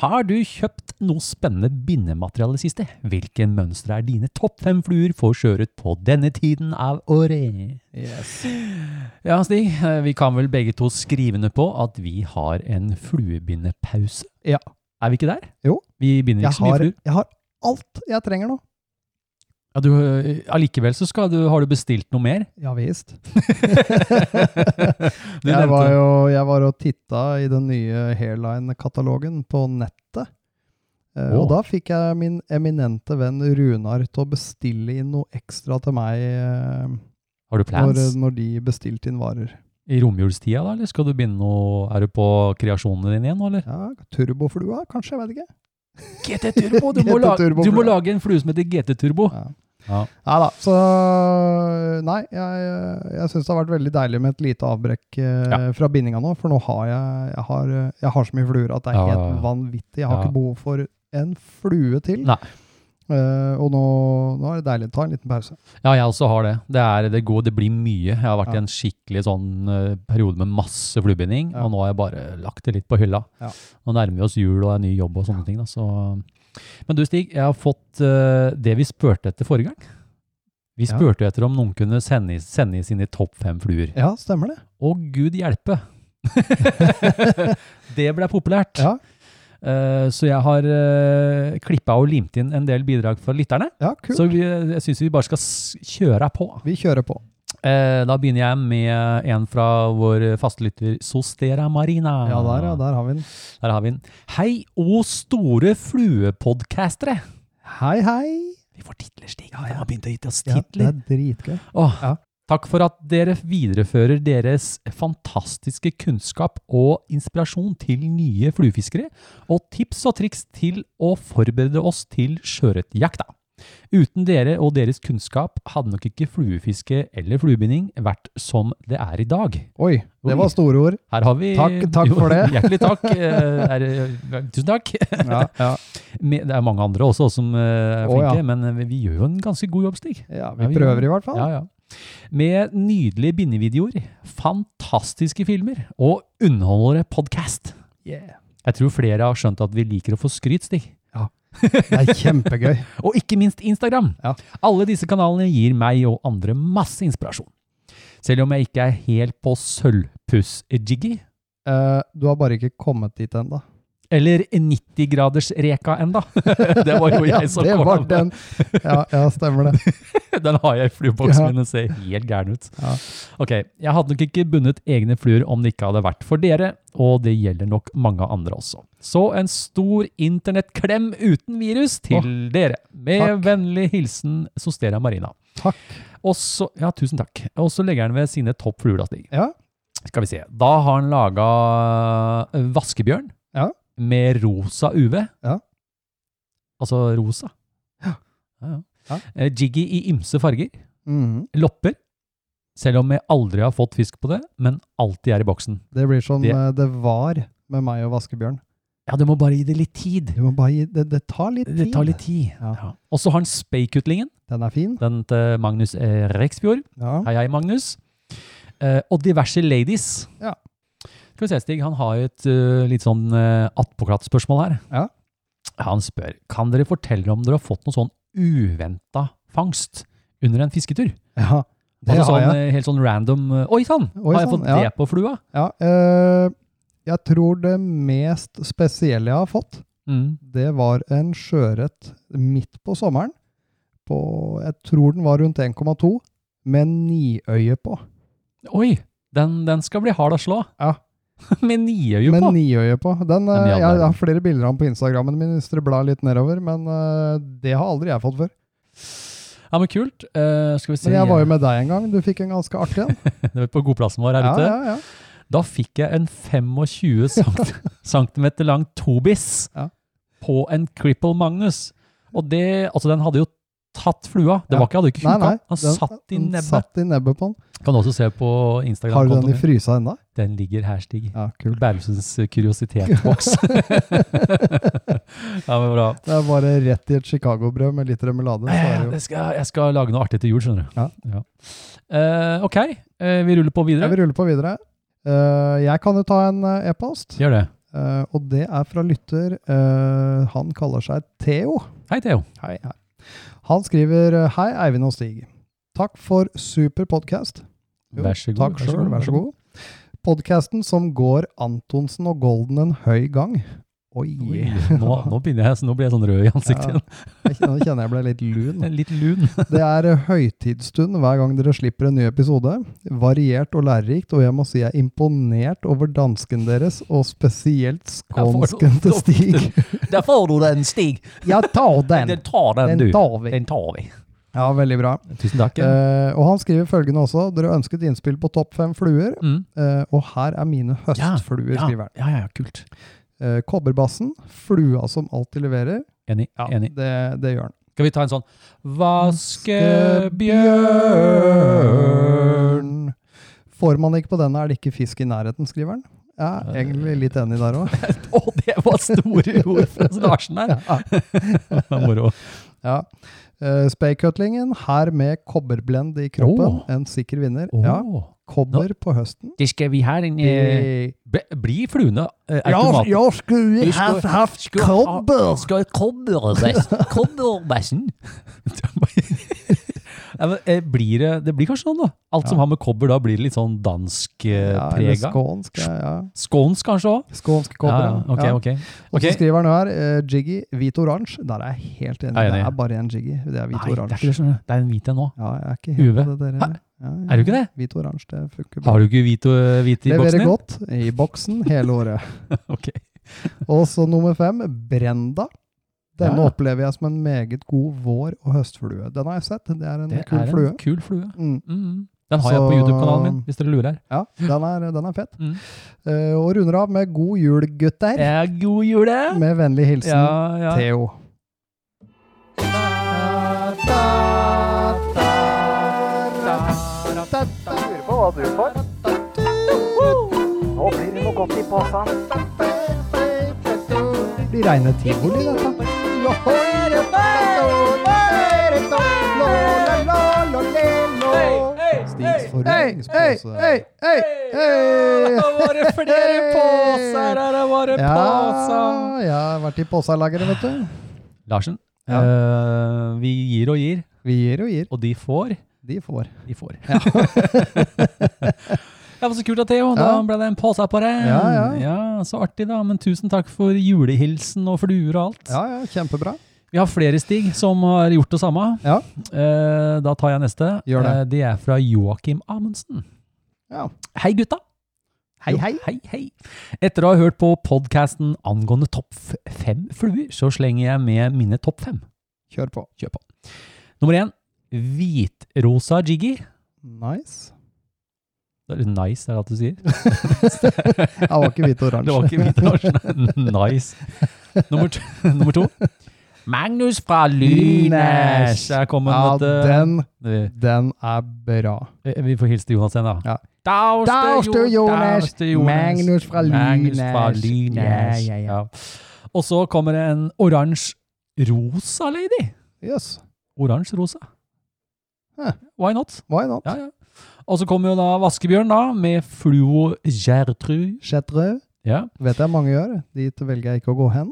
Speaker 5: Har du kjøpt noe spennende bindemateriale siste? Hvilke mønstre er dine topp fem fluer for skjøret på denne tiden av året? Ja, Stig, eh, vi kan vel begge to skrive ned på at vi har en fluebindepause.
Speaker 6: Ja.
Speaker 5: Er vi ikke der?
Speaker 6: Jo.
Speaker 5: Vi binder
Speaker 6: Jeg
Speaker 5: ikke så mye
Speaker 6: har,
Speaker 5: fluer.
Speaker 6: jeg har alt jeg trenger nå.
Speaker 5: Ja, du, eh, Allikevel så skal du, har du bestilt noe mer?
Speaker 6: Ja visst.
Speaker 5: Du
Speaker 6: Jeg
Speaker 5: nevnte-
Speaker 6: var jo jeg var og titta i den nye Hairline-katalogen på nettet. Eh,
Speaker 5: Å.
Speaker 6: Og da fikk jeg min eminente venn Runar til å bestille inn noe ekstra til meg eh,
Speaker 5: Har du
Speaker 6: når,
Speaker 5: plans?
Speaker 6: når de bestilte inn varer.
Speaker 5: I romjulstida, da? Eller skal du begynne å Er du på kreasjonene dine igjen, nå, eller?
Speaker 6: Ja, Turboflua, kanskje? Jeg vet ikke.
Speaker 5: GT Turbo! Du, må,
Speaker 6: GT
Speaker 5: lage,
Speaker 6: Turbo
Speaker 5: du må
Speaker 6: flue.
Speaker 5: lage en flue som heter GT Turbo.
Speaker 6: Ja.
Speaker 5: Ja.
Speaker 6: Nei da. Så nei, jeg, jeg syns det har vært veldig deilig med et lite avbrekk eh,
Speaker 5: Ja.
Speaker 6: fra bindinga nå, for nå har jeg, jeg, har, eh, jeg har så mye fluer at det er
Speaker 5: Ja, ja,
Speaker 6: helt
Speaker 5: ja.
Speaker 6: vanvittig. Jeg har
Speaker 5: Ja.
Speaker 6: ikke behov for en flue til.
Speaker 5: Nei.
Speaker 6: Eh, og nå, nå er det deilig å ta en liten pause.
Speaker 5: Ja, jeg også har det. Det, er, det, går, det blir mye. Jeg har vært i
Speaker 6: Ja.
Speaker 5: en skikkelig sånn eh, periode med masse fluebinding,
Speaker 6: Ja.
Speaker 5: og nå har jeg bare lagt det litt på hylla.
Speaker 6: Ja.
Speaker 5: Nå nærmer vi oss jul og en ny jobb og sånne ting. Da, så. Men du Stig, jeg har fått eh, det vi spurte etter forrige gang. Vi
Speaker 6: Ja.
Speaker 5: spurte etter om noen kunne sende, i- sende i sine topp fem fluer.
Speaker 6: Ja, stemmer det.
Speaker 5: Å, gud hjelpe! det ble populært.
Speaker 6: Ja.
Speaker 5: Eh, så jeg har uh, klippa og limt inn en del bidrag fra lytterne.
Speaker 6: Ja, kult.
Speaker 5: Så vi, jeg syns vi bare skal s kjøre på.
Speaker 6: Vi kjører på.
Speaker 5: Eh, da begynner jeg med en fra vår faste lytter Sostera Marina.
Speaker 6: Ja,
Speaker 5: Ah.
Speaker 6: der, ja, der har vi den.
Speaker 5: Der har vi den. Hei, å store fluepodcastere!
Speaker 6: Hei, hei!
Speaker 5: Vi får titler, Stig. De har begynt å gi oss
Speaker 6: Ja, det
Speaker 5: titler.
Speaker 6: er dritgøy.
Speaker 5: Åh,
Speaker 6: Ja.
Speaker 5: Takk for at dere viderefører deres fantastiske kunnskap og inspirasjon til nye fluefiskere, og tips og triks til å forberede oss til sjøørretjakta. Uten dere og deres kunnskap hadde nok ikke fluefiske eller fluebinding vært som det er i dag.
Speaker 6: Oi,
Speaker 5: Oi.
Speaker 6: det var store ord.
Speaker 5: Her har vi
Speaker 6: Takk- takk for det.
Speaker 5: Hjertelig takk. Eh, Er, tusen takk.
Speaker 6: Ja, ja.
Speaker 5: Med- Det er mange andre også som eh, er
Speaker 6: Å,
Speaker 5: flinke,
Speaker 6: ja.
Speaker 5: men vi- vi gjør jo en ganske god jobb, Stig.
Speaker 6: ja
Speaker 5: Ja,
Speaker 6: vi
Speaker 5: vi-
Speaker 6: prøver i hvert fall.
Speaker 5: Ja, ja. Med nydelige bindevideoer, fantastiske filmer og underholdende podcast. Jeg tror flere har skjønt at vi liker å få skryt, Stig.
Speaker 6: Det er kjempegøy.
Speaker 5: Og ikke minst Instagram.
Speaker 6: Ja.
Speaker 5: Alle disse kanalene gir meg og andre masse inspirasjon. Selv om jeg ikke er helt på sølvpuss-jiggy,
Speaker 6: Eh, du har bare ikke kommet dit ennå.
Speaker 5: eller 90-graders-reka enda. det var jo jeg som
Speaker 6: ja, det
Speaker 5: kom
Speaker 6: var
Speaker 5: med.
Speaker 6: den. Ja, ja, stemmer det.
Speaker 5: Den har jeg i flueboksen
Speaker 6: Ja.
Speaker 5: min og ser helt gæren ut.
Speaker 6: Ja.
Speaker 5: Ok, jeg hadde nok ikke bundet egne fluer om det ikke hadde vært for dere, og det gjelder nok mange andre også. Så en stor internettklem uten virus til dere. Med
Speaker 6: takk.
Speaker 5: vennlig hilsen Sostera Marina.
Speaker 6: Takk.
Speaker 5: Og så, ja, tusen takk. Og så legger han ved sine topp fluer, da, Stig.
Speaker 6: Ja.
Speaker 5: Skal vi se. Da har han laga vaskebjørn
Speaker 6: Ja.
Speaker 5: med rosa UV.
Speaker 6: Ja.
Speaker 5: Altså rosa. Ja. ja.
Speaker 6: Ja.
Speaker 5: Eh, Jiggy i ymse farger.
Speaker 6: Mhm.
Speaker 5: Lopper. Selv om jeg aldri har fått fisk på det, men alltid er i boksen.
Speaker 6: Det blir sånn
Speaker 5: Det-
Speaker 6: eh, det var med meg og vaskebjørn.
Speaker 5: Ja, du må bare gi det litt tid.
Speaker 6: Du må bare gi, det, det tar litt tid.
Speaker 5: Det tar litt tid.
Speaker 6: Ja.
Speaker 5: Ja. Og så har han speikutlingen,
Speaker 6: Den er fin.
Speaker 5: den til Magnus eh, Reksfjord.
Speaker 6: Ja.
Speaker 5: Hei, hei, Magnus. Eh, og diverse ladies.
Speaker 6: Ja.
Speaker 5: Skal vi se, Stig, han har jo et eh, litt sånn uh, attpåklatt-spørsmål her.
Speaker 6: Ja.
Speaker 5: Han spør, kan dere fortelle om dere har fått noen sånn uventa fangst under en fisketur?
Speaker 6: ja. Det
Speaker 5: Altså
Speaker 6: har
Speaker 5: sånn,
Speaker 6: jeg.
Speaker 5: eh, Helt sånn random, eh, oi sann,
Speaker 6: Oi
Speaker 5: har jeg
Speaker 6: sann,
Speaker 5: fått
Speaker 6: ja.
Speaker 5: det på flua?
Speaker 6: Ja, eh, jeg tror det mest spesielle jeg har fått,
Speaker 5: Mm.
Speaker 6: det var en sjøørret midt på sommeren. På, jeg tror den var rundt 1,2, med niøye på.
Speaker 5: Oi, den, den skal bli hard å slå.
Speaker 6: Ja.
Speaker 5: Med niøye
Speaker 6: Med
Speaker 5: på.
Speaker 6: niøye på. Den,
Speaker 5: Men i all
Speaker 6: eh, jeg,
Speaker 5: verden.
Speaker 6: har flere bilder av den på Instagrammen min hvis dere blar litt nedover, men eh, det har aldri jeg fått før.
Speaker 5: Ja, men kult. Eh, skal vi se.
Speaker 6: Men jeg var jo med deg en gang. Du fikk en ganske artig en.
Speaker 5: Det var på godplassen vår her
Speaker 6: Ja,
Speaker 5: ute.
Speaker 6: ja, ja.
Speaker 5: Da fikk jeg en 25 cent- centimeter lang tobis
Speaker 6: Ja.
Speaker 5: på en Cripple Magnus. Og det, altså den hadde jo tatt flua. Det
Speaker 6: Ja.
Speaker 5: var ikke, hadde ikke
Speaker 6: Nei, nei.
Speaker 5: huka. Han
Speaker 6: den-
Speaker 5: satt i
Speaker 6: den
Speaker 5: nebbet.
Speaker 6: Satt i nebbet på den.
Speaker 5: Kan du også se på
Speaker 6: Har du
Speaker 5: Instagram-kontoen
Speaker 6: den
Speaker 5: min.
Speaker 6: i frysa ennå?
Speaker 5: Den ligger her, Stig.
Speaker 6: Ja,
Speaker 5: I
Speaker 6: kult.
Speaker 5: Bærumsens kuriositetsboks. ja, men bra.
Speaker 6: Det er bare rett i et Chicago-brød med litt remulade. Så er
Speaker 5: Eh,
Speaker 6: det jo.
Speaker 5: det skal, jeg skal lage noe artig til jul, skjønner du.
Speaker 6: Ja.
Speaker 5: Eh, ok, eh, vi ruller på
Speaker 6: Jeg
Speaker 5: videre.
Speaker 6: vil rulle på videre. Eh, jeg kan jo ta en eh, e-post,
Speaker 5: Gjør det.
Speaker 6: eh, og det er fra lytter. eh, han kaller seg Theo.
Speaker 5: Hei, Theo.
Speaker 6: Hei, hei. Han skriver eh, Hei, Eivind og Stig. Takk for super podkast. Jo,
Speaker 5: Vær så god.
Speaker 6: Takk sjøl, vær så god. Podkasten som går Antonsen og Golden en høy gang. Oi!
Speaker 5: Oi, nå, nå, begynner jeg, nå blir jeg sånn rød i ansiktet.
Speaker 6: Ja. Jeg kjenner- Nå kjenner jeg ble litt lun.
Speaker 5: Litt lun.
Speaker 6: Det er eh, høytidsstund hver gang dere slipper en ny episode. Variert og lærerikt, og jeg må si jeg er imponert over dansken deres, og spesielt skånsken til Stig.
Speaker 5: Der får du den, Stig.
Speaker 6: Ja, ta den!
Speaker 5: tar
Speaker 6: Den tar vi.
Speaker 5: tar vi.
Speaker 6: Ja, veldig bra.
Speaker 5: Tusen takk.
Speaker 6: Eh, og han skriver følgende også. Dere ønsket innspill på topp fem fluer,
Speaker 5: Mm.
Speaker 6: eh, og her er mine
Speaker 5: Ja,
Speaker 6: høstfluer,
Speaker 5: Ja,
Speaker 6: skriver han.
Speaker 5: ja, ja, kult.
Speaker 6: Eh, kobberbassen, flua som alltid leverer.
Speaker 5: Enig.
Speaker 6: Ja,
Speaker 5: enig.
Speaker 6: Det, det gjør Eh, han.
Speaker 5: Skal vi ta en sånn Eh, Vaskebjørn
Speaker 6: Får man ikke på denne, er det ikke fisk i nærheten, skriver han. Jeg
Speaker 5: Eh.
Speaker 6: er egentlig litt enig der òg.
Speaker 5: Å, det var store ord fra Larsen der! Det var Moro.
Speaker 6: Ja. Uh, Speikhutlingen, her med kobberblend i kroppen.
Speaker 5: Åh.
Speaker 6: En sikker vinner.
Speaker 5: Å,
Speaker 6: Ja, Kobber på høsten.
Speaker 5: Det skal vi ha en Oh. eh,
Speaker 6: Eh,
Speaker 5: ble- Blir fluene eh,
Speaker 6: altså,
Speaker 5: automat...
Speaker 6: skulle
Speaker 5: Du skulle-
Speaker 6: hatt
Speaker 5: Skal- Skal kobberbæsj Kobberbæsjen Nei, men, eh, blir det, det blir kanskje sånn da Alt som har med kobber da blir det litt sånn dansk eh,
Speaker 6: Ja, eller
Speaker 5: prega
Speaker 6: skånsk. Ja, ja.
Speaker 5: Skånsk kanskje også
Speaker 6: Skånsk kobber,
Speaker 5: ja, ja. Ok,
Speaker 6: ja.
Speaker 5: ok
Speaker 6: Og så
Speaker 5: Ok.
Speaker 6: skriver han jo her eh, Jiggy, hvit oransje. Der er jeg helt enig.
Speaker 5: Jeg er enig.
Speaker 6: Det er bare én Jiggy. Det er
Speaker 5: Nei, det
Speaker 6: hvit
Speaker 5: er ikke
Speaker 6: oransje.
Speaker 5: det skjønner du. Det er en hvit en nå
Speaker 6: Ja, jeg er ikke helt
Speaker 5: Uve.
Speaker 6: på det
Speaker 5: Hæ?
Speaker 6: dere. Ja, ja.
Speaker 5: Er du ikke det?
Speaker 6: Hvit oransje, det funker bra.
Speaker 5: Har du ikke hvit, og, eh, hvit i boksen
Speaker 6: Leverer
Speaker 5: din?
Speaker 6: godt i boksen hele året.
Speaker 5: Ok.
Speaker 6: Og så nummer fem, Brenda. Denne
Speaker 5: Ja.
Speaker 6: opplever jeg som en meget god vår- og høstflue. Den har jeg sett. Det er en
Speaker 5: Det
Speaker 6: kul
Speaker 5: er en
Speaker 6: flue.
Speaker 5: kul flue
Speaker 6: Mm.
Speaker 5: Mm. Den har jeg
Speaker 6: Så-
Speaker 5: på YouTube-kanalen min Hvis dere lurer
Speaker 6: Ja, den er, den er fet.
Speaker 5: Mm.
Speaker 6: Eh, og runder av med 'God jul, gutter',
Speaker 5: Eh, God jul det
Speaker 6: med vennlig hilsen
Speaker 5: ja, ja.
Speaker 6: Theo.
Speaker 4: Lurer på hva du får.
Speaker 2: Nå blir det noe godt i posen.
Speaker 6: Det blir reine tivoli, dette. Stigs forhøringspose. hei, hei!
Speaker 5: var det flere påser her, det var det
Speaker 6: Ja,
Speaker 5: påser.
Speaker 6: jeg har vært i påsalageret, vet du.
Speaker 5: Larsen,
Speaker 6: Ja.
Speaker 5: eh, vi gir og gir,
Speaker 6: Vi gir og gir.
Speaker 5: og de får.
Speaker 6: De får.
Speaker 5: De får. Ja. det var så kult da, Theo. Da
Speaker 6: Ja.
Speaker 5: ble det en påse på deg.
Speaker 6: Ja, ja.
Speaker 5: så artig da. Men tusen takk for julehilsen og fluer og alt.
Speaker 6: Ja, ja, kjempebra.
Speaker 5: Vi har flere stig som har gjort det samme.
Speaker 6: Ja.
Speaker 5: Eh, da tar jeg neste.
Speaker 6: Gjør det.
Speaker 5: Eh, det er fra Joakim Amundsen.
Speaker 6: Ja.
Speaker 5: Hei, gutta!
Speaker 6: Hei,
Speaker 5: Jo,
Speaker 6: hei.
Speaker 5: hei, hei. Etter å ha hørt på podkasten angående topp f- fem fluer, så slenger jeg med mine topp fem.
Speaker 6: Kjør på.
Speaker 5: Kjør på. Nummer én, hvitrosa jiggy.
Speaker 6: Nice.
Speaker 5: Det er Nice, er det alt du sier?
Speaker 6: Jeg var ikke hvit og
Speaker 5: Det var
Speaker 6: oransje.
Speaker 5: ikke hvit oransje. Nice. Nummer to, nummer to
Speaker 1: Magnus fra
Speaker 6: Lynes.
Speaker 1: Lynes!
Speaker 5: Der kom han,
Speaker 6: Ja,
Speaker 5: vet du.
Speaker 6: den,
Speaker 5: Vi-
Speaker 6: den er bra.
Speaker 5: Eh, Vi får hilse til Jonas igjen, da.
Speaker 6: Ja.
Speaker 5: Daus
Speaker 6: Daus til Jonas. Magnus fra
Speaker 5: Magnus fra
Speaker 6: Lynes.
Speaker 5: Lynes.
Speaker 6: Ja, ja, ja.
Speaker 5: Og så kommer det en oransje-rosa lady.
Speaker 6: Yes.
Speaker 5: Oransje-rosa.
Speaker 6: Hæ.
Speaker 5: Why not?
Speaker 6: Why not?
Speaker 5: Ja, ja. Og så kommer jo da Vaskebjørn, da, med Fluo Gertrud.
Speaker 6: Chatrøy
Speaker 5: Ja.
Speaker 6: vet jeg mange gjør. Dit velger jeg ikke å gå hen.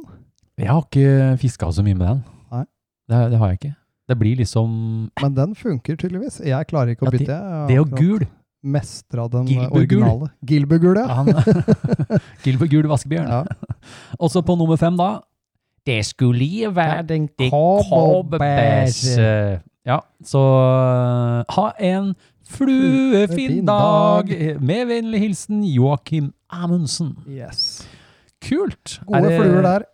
Speaker 5: Jeg har ikke fiska så mye med den.
Speaker 6: Nei.
Speaker 5: Det, det har jeg ikke. Det blir liksom
Speaker 6: Men den funker tydeligvis. Jeg klarer ikke
Speaker 5: Ja,
Speaker 6: å
Speaker 5: det-
Speaker 6: bytte. Jeg
Speaker 5: Det er jo
Speaker 6: akkurat
Speaker 5: gul.
Speaker 6: mestra den
Speaker 5: Gilbegul.
Speaker 6: originale. Gilbegul, ja.
Speaker 5: Han, Gilbert Gul Vaskebjørn.
Speaker 6: ja.
Speaker 5: Og så på nummer fem, da. Det skulle ikke være
Speaker 6: den
Speaker 5: det kobberbæsje. Ja, så øh, ha en fluefin
Speaker 6: Fluefin
Speaker 5: dag!
Speaker 6: dag.
Speaker 5: Med vennlig hilsen Joakim Amundsen.
Speaker 6: Yes.
Speaker 5: Kult! Er
Speaker 6: Gode
Speaker 5: det-
Speaker 6: fluer der.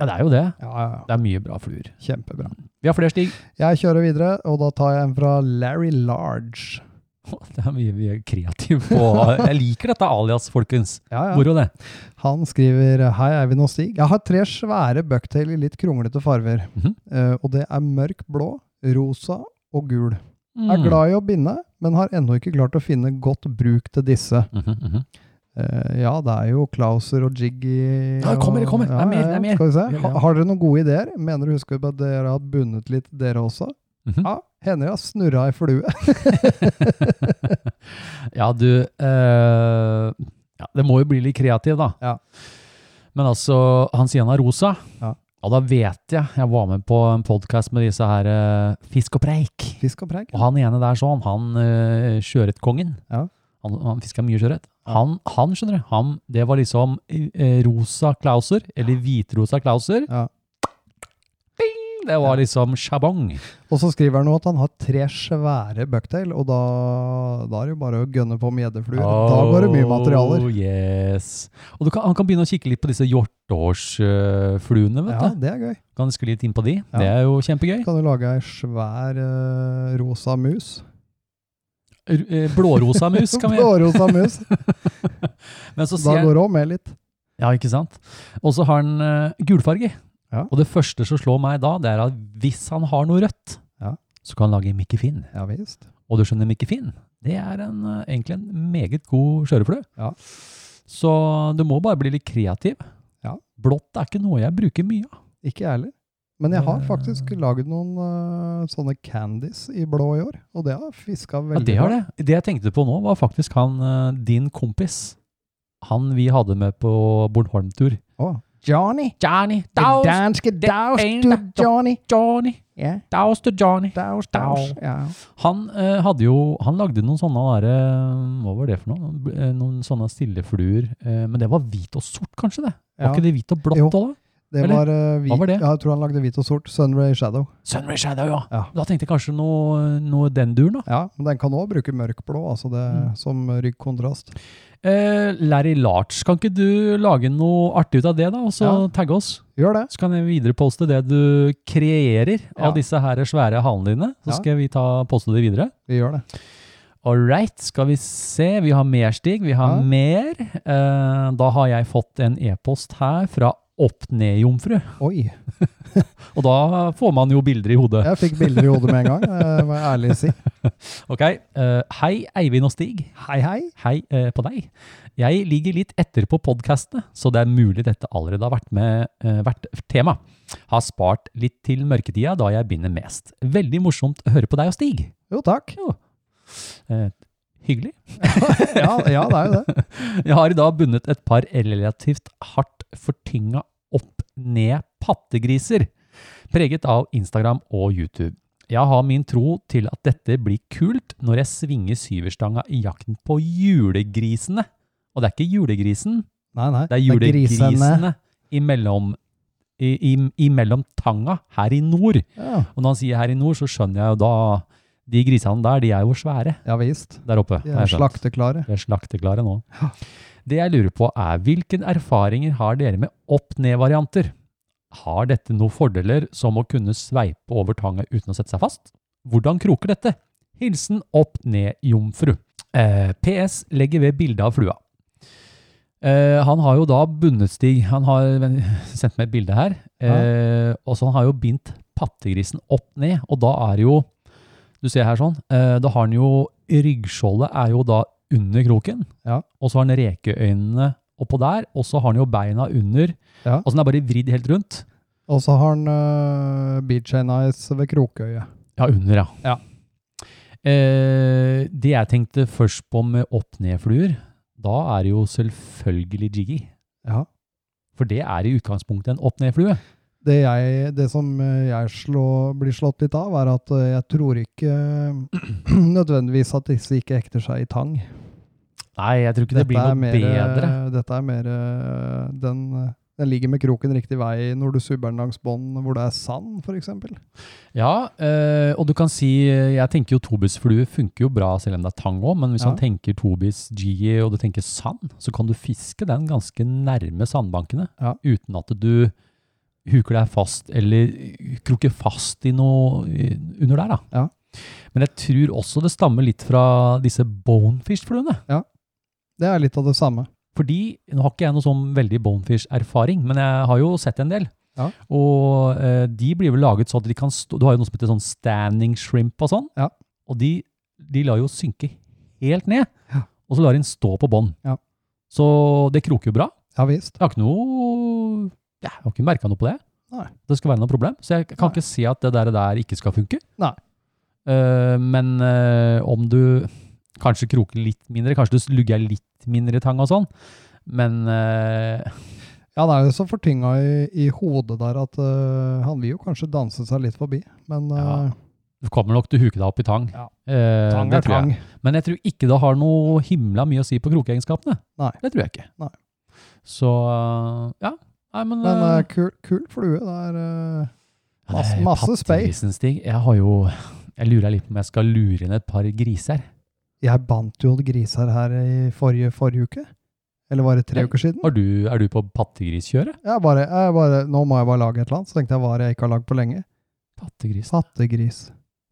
Speaker 5: Ja, det er jo det.
Speaker 6: Ja, ja, ja.
Speaker 5: Det er mye bra fluer.
Speaker 6: Kjempebra.
Speaker 5: Vi har flere stig.
Speaker 6: Jeg kjører videre, og da tar jeg en fra Larry Large.
Speaker 5: Det er mye vi er kreative på. Jeg liker dette alias, folkens.
Speaker 6: Ja, ja.
Speaker 5: Moro, det.
Speaker 6: Han skriver Hei, Eivind og Stig. Jeg har tre svære bucktail i litt kronglete farver.
Speaker 5: Mhm.
Speaker 6: Eh, og det er mørk blå, rosa og gul. Er
Speaker 5: Mm.
Speaker 6: glad i å binde, men har ennå ikke klart å finne godt bruk til disse.
Speaker 5: Mhm, mhm.
Speaker 6: Eh, ja, det er jo Klauser og Jiggy
Speaker 5: Ja, det kommer, det kommer. Det er mer, det er mer.
Speaker 6: Skal vi
Speaker 5: Ja,
Speaker 6: se.
Speaker 5: ja.
Speaker 6: Ha, har dere noen gode ideer? Mener du husker på at dere har bundet litt, dere også?
Speaker 5: Mhm.
Speaker 6: Ja, hender jeg har snurra ei flue.
Speaker 5: ja, du eh, ja, Det må jo bli litt kreativ, da.
Speaker 6: Ja.
Speaker 5: Men altså, han sier han er rosa.
Speaker 6: Ja.
Speaker 5: da vet jeg. Jeg var med på en podkast med disse her eh, Fisk og preik.
Speaker 6: Fisk og preg.
Speaker 5: Og han ene der sånn, han eh, sjøørretkongen.
Speaker 6: Ja.
Speaker 5: Han, han fiska mye sjøørret. Han, han, skjønner du, han, det var liksom eh, rosa klauser, eller hvitrosa klauser.
Speaker 6: Ja.
Speaker 5: Ding! Det var liksom sjabong.
Speaker 6: Og så skriver han nå at han har tre svære bucktail, og da, da er det jo bare å gønne på med gjeddefluer. Da går det mye materialer.
Speaker 5: Oh, yes. Og du kan, han kan begynne å kikke litt på disse hjortårsfluene, vet
Speaker 6: Ja,
Speaker 5: du.
Speaker 6: det er gøy.
Speaker 5: Kan skli litt inn på de.
Speaker 6: Ja.
Speaker 5: Det er jo kjempegøy.
Speaker 6: Kan du lage ei svær eh, rosa mus?
Speaker 5: R- eh, Blårosa mus kan vi
Speaker 6: Blårosa mus.
Speaker 5: Men så
Speaker 6: Da
Speaker 5: sier
Speaker 6: går
Speaker 5: jeg,
Speaker 6: det òg med litt.
Speaker 5: Ja, ikke sant? Og så har han eh, gulfarge.
Speaker 6: Ja.
Speaker 5: Og det første som slår meg da, det er at hvis han har noe rødt,
Speaker 6: Ja.
Speaker 5: så kan han lage Mikke Finn.
Speaker 6: Ja visst.
Speaker 5: Og du skjønner, Mikke Finn, det er en, eh, egentlig en meget god sjørøverflue.
Speaker 6: Ja.
Speaker 5: Så du må bare bli litt kreativ.
Speaker 6: Ja.
Speaker 5: Blått er ikke noe jeg bruker mye av.
Speaker 6: Ikke jeg heller. Men jeg har
Speaker 5: Det-
Speaker 6: faktisk lagd noen eh, sånne candies i blå i år, og det har fiska
Speaker 5: Ja,
Speaker 6: veldig
Speaker 5: det har det. Det jeg tenkte på nå, var faktisk han eh, din kompis. Han vi hadde med på Bornholm-tur.
Speaker 6: Å, Johnny!
Speaker 5: Johnny,
Speaker 6: danske daus
Speaker 5: det- du,
Speaker 6: Johnny!
Speaker 5: Johnny,
Speaker 6: Ja,
Speaker 5: daus til Johnny.
Speaker 6: daus,
Speaker 5: daus.
Speaker 6: Ja.
Speaker 5: Han eh, hadde jo, han lagde noen sånne der, eh, hva var det for noe? B- eh, Noen sånne stillefluer, eh, men det var hvit og sort kanskje det? Var ikke det hvit og blått
Speaker 6: Jo.
Speaker 5: da? da?
Speaker 6: Det
Speaker 5: Eller?
Speaker 6: var, eh, hvit,
Speaker 5: Hva var det?
Speaker 6: Ja, jeg tror han lagde hvit og sort. Sunray Shadow.
Speaker 5: Sunray Shadow, ja.
Speaker 6: Ja.
Speaker 5: Da tenkte jeg kanskje noe, noe den duren da.
Speaker 6: Ja, men den kan òg bruke mørkblå, altså det
Speaker 5: Mm.
Speaker 6: som ryggkontrast.
Speaker 5: Eh, Larry Larch, kan ikke du lage noe artig ut av det da, og så
Speaker 6: Ja.
Speaker 5: tagge oss?
Speaker 6: Gjør det.
Speaker 5: Så kan jeg videreposte det du kreerer
Speaker 6: Ja.
Speaker 5: av disse her svære halene dine. Så
Speaker 6: Ja.
Speaker 5: skal vi ta, poste det videre.
Speaker 6: Vi gjør det.
Speaker 5: All right, skal vi se. Vi har mer, Stig. Vi har
Speaker 6: Ja.
Speaker 5: mer. Eh, da har jeg fått en e-post her fra Opp-ned-jomfru.
Speaker 6: Oi.
Speaker 5: Og da får man jo bilder i hodet.
Speaker 6: Jeg fikk bilder i hodet med en gang, eh, må jeg ærlig si.
Speaker 5: Ok. eh, hei, Eivind og Stig.
Speaker 6: Hei, hei.
Speaker 5: Hei eh, på deg. Jeg ligger litt etter på podkastene, så det er mulig dette allerede har vært, med, eh, vært tema. Har spart litt til mørketida, da jeg begynner mest. Veldig morsomt å høre på deg og Stig.
Speaker 6: Jo, takk.
Speaker 5: Eh, hyggelig.
Speaker 6: Ja, ja det er jo det.
Speaker 5: Jeg har i dag bundet et par relativt hardt fortynga opp-ned-pattegriser, preget av Instagram og YouTube. Jeg har min tro til at dette blir kult når jeg svinger syverstanga i jakten på julegrisene. Og det er ikke julegrisen,
Speaker 6: Nei, nei.
Speaker 5: det er julegrisene imellom, i, i, imellom tanga her i nord.
Speaker 6: Ja,
Speaker 5: Og når han sier her i nord, så skjønner jeg jo da De grisene der, de er jo svære
Speaker 6: ja visst.
Speaker 5: der oppe.
Speaker 6: De
Speaker 5: har
Speaker 6: er
Speaker 5: jeg skjønt.
Speaker 6: slakteklare.
Speaker 5: Vi er slakteklare nå. Det jeg lurer på er, hvilken erfaringer har dere med opp-ned-varianter? Har dette noen fordeler som å kunne sveipe over tanga uten å sette seg fast? Hvordan kroker dette? Hilsen opp-ned-jomfru. Eh, PS legger ved bildet av flua. Eh, han har jo da bundet Stig. Han har men, sendt meg et bilde her. Eh, og så han har jo bindt pattegrisen opp ned, og da er det jo Du ser her sånn. Eh, da har han jo Ryggskjoldet er jo da under kroken,
Speaker 6: Ja.
Speaker 5: og så har han rekeøynene oppå der, og så har han jo beina under.
Speaker 6: Ja.
Speaker 5: Og så den er bare vridd helt rundt.
Speaker 6: Og så har han uh, Beach and Ice ved Krokøyet.
Speaker 5: Ja, under, ja. Eh, det jeg tenkte først på med opp-ned-fluer, da er det jo selvfølgelig jiggy.
Speaker 6: Ja.
Speaker 5: For det er i utgangspunktet en opp-ned-flue.
Speaker 6: Det, jeg, det som eh, jeg slå, blir slått litt av, er at eh, jeg tror ikke nødvendigvis at disse ikke ekter seg i tang.
Speaker 5: Nei, jeg tror ikke det blir noe bedre.
Speaker 6: Dette er mer eh, den, eh, den ligger med kroken riktig vei når du subber den langs bånd hvor det er sand, f.eks.
Speaker 5: Ja, eh, og du kan si eh, Jeg tenker jo tobisflue funker jo bra selv om det er tang òg, men hvis
Speaker 6: Ja.
Speaker 5: man tenker tobis, g E, og du tenker sand, så kan du fiske den ganske nærme sandbankene
Speaker 6: Ja.
Speaker 5: uten at du huker deg fast eller kroker fast i noe eh, under der, da.
Speaker 6: Ja.
Speaker 5: Men jeg tror også det stammer litt fra disse bonefish-fluene.
Speaker 6: Det er litt av det samme.
Speaker 5: Fordi, nå har ikke jeg noe sånn veldig bonefish-erfaring, men jeg har jo sett en del.
Speaker 6: Ja.
Speaker 5: Og eh, de blir vel laget sånn at de kan stå, du har jo noe som heter sånn standing shrimp og sånn.
Speaker 6: Ja.
Speaker 5: Og de, de lar jo synke helt ned,
Speaker 6: Ja.
Speaker 5: og så lar de den stå på bånd.
Speaker 6: Ja.
Speaker 5: Så det kroker jo bra.
Speaker 6: Ja visst.
Speaker 5: Jeg har ikke noe, jeg har ikke merket noe på det.
Speaker 6: Nei.
Speaker 5: Det skal være noe problem, så jeg kan
Speaker 6: Nei.
Speaker 5: ikke se at det der, der ikke skal funke.
Speaker 6: Nei.
Speaker 5: Eh, men eh, om du kanskje kroker litt mindre, kanskje du lugger litt mindre i tang og sånn, men eh,
Speaker 6: Ja, det er jo så fortynga i, i hodet der at eh, han vil jo kanskje danse seg litt forbi, men
Speaker 5: Ja.
Speaker 6: eh,
Speaker 5: du kommer nok til å huke deg opp i tang.
Speaker 6: Ja.
Speaker 5: Eh,
Speaker 6: tang
Speaker 5: det
Speaker 6: er
Speaker 5: tror jeg.
Speaker 6: tang.
Speaker 5: Men jeg tror ikke det har noe himla mye å si på krokeegenskapene.
Speaker 6: Nei.
Speaker 5: Det tror jeg ikke.
Speaker 6: Nei.
Speaker 5: Så, ja. Nei, men...
Speaker 6: Men
Speaker 5: eh,
Speaker 6: eh, kul, kul flue. Det er eh,
Speaker 5: Ja, det
Speaker 6: Masse-
Speaker 5: er
Speaker 6: masse spei.
Speaker 5: pattegrisen, Stig. Jeg har jo Jeg lurer litt på om jeg skal lure inn et par griser.
Speaker 6: Jeg bandt jo griser her i forrige, forrige uke. Eller var det tre
Speaker 5: Nei.
Speaker 6: uker siden?
Speaker 5: Har du, er du på pattegriskjøret?
Speaker 6: Jeg bare, jeg bare, nå må jeg bare lage et eller annet. Så tenkte jeg hva er det jeg ikke har lagd på lenge?
Speaker 5: Pattegris
Speaker 6: Pattegris.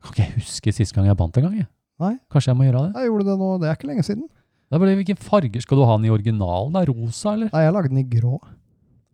Speaker 5: Kan ikke jeg huske sist gang jeg bandt en gang. Jeg.
Speaker 6: Nei.
Speaker 5: Kanskje jeg må gjøre det?
Speaker 6: Jeg gjorde det nå, det er ikke lenge siden.
Speaker 5: Da blir det Hvilken farger skal du ha den i originalen? da? Rosa, eller?
Speaker 6: Nei, jeg lagde den i grå.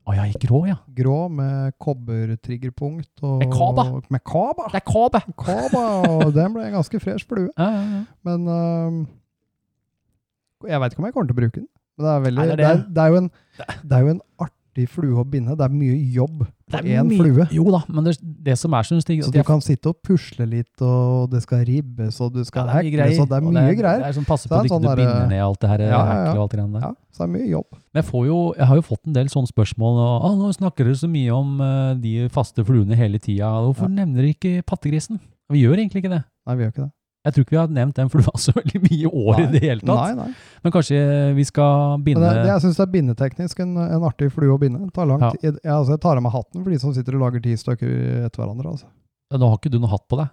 Speaker 5: Å ja, i grå, ja.
Speaker 6: Grå med kobbertriggerpunkt og
Speaker 5: Med kaba.
Speaker 6: Med kaba!
Speaker 5: Det er kåbe!
Speaker 6: Kaba, og den ble en ganske fresh flue.
Speaker 5: Ja, ja, ja.
Speaker 6: Men øhm, jeg veit ikke om jeg kommer til å bruke den. Men det er, veldig,
Speaker 5: Nei,
Speaker 6: det,
Speaker 5: det er
Speaker 6: er,
Speaker 5: det.
Speaker 6: det, er jo en, det er jo en artig flue å binde. Det er mye jobb på
Speaker 5: Det er
Speaker 6: én
Speaker 5: mye-
Speaker 6: flue.
Speaker 5: Jo da, men det, det som er sånn, Stig
Speaker 6: Så
Speaker 5: at
Speaker 6: du
Speaker 5: jeg-
Speaker 6: kan sitte og pusle litt, og det skal ribbes, og du
Speaker 5: Ja,
Speaker 6: skal hekles, og det er
Speaker 5: og
Speaker 6: mye
Speaker 5: det er,
Speaker 6: greier.
Speaker 5: Det er sånn passe
Speaker 6: Det
Speaker 5: på
Speaker 6: er
Speaker 5: at du
Speaker 6: en
Speaker 5: ikke
Speaker 6: sånn
Speaker 5: du
Speaker 6: derre-
Speaker 5: binder ned alt det her.
Speaker 6: Ja, ja, ja.
Speaker 5: hekle og alt det greiene der.
Speaker 6: Ja, så det er mye jobb.
Speaker 5: Men jeg, får jo, jeg har jo fått en del sånne spørsmål. Og, ah, 'Nå snakker dere så mye om eh, de faste fluene hele tida. Hvorfor nevner dere ikke pattegrisen?' Og Vi gjør egentlig ikke det.
Speaker 6: Nei, vi gjør ikke det.
Speaker 5: Jeg tror ikke vi har nevnt den flua så veldig mye i år i det hele tatt.
Speaker 6: Nei, nei.
Speaker 5: Men kanskje vi skal
Speaker 6: Men
Speaker 5: binde
Speaker 6: det, det, jeg syns det er bindeteknisk en, en artig flue å binde. Det Tar langt.
Speaker 5: Ja.
Speaker 6: tid. Jeg, altså, jeg tar av meg hatten for de som sitter og lager ti stykker etter hverandre. Altså.
Speaker 5: Ja, Nå har ikke du noe hatt på deg.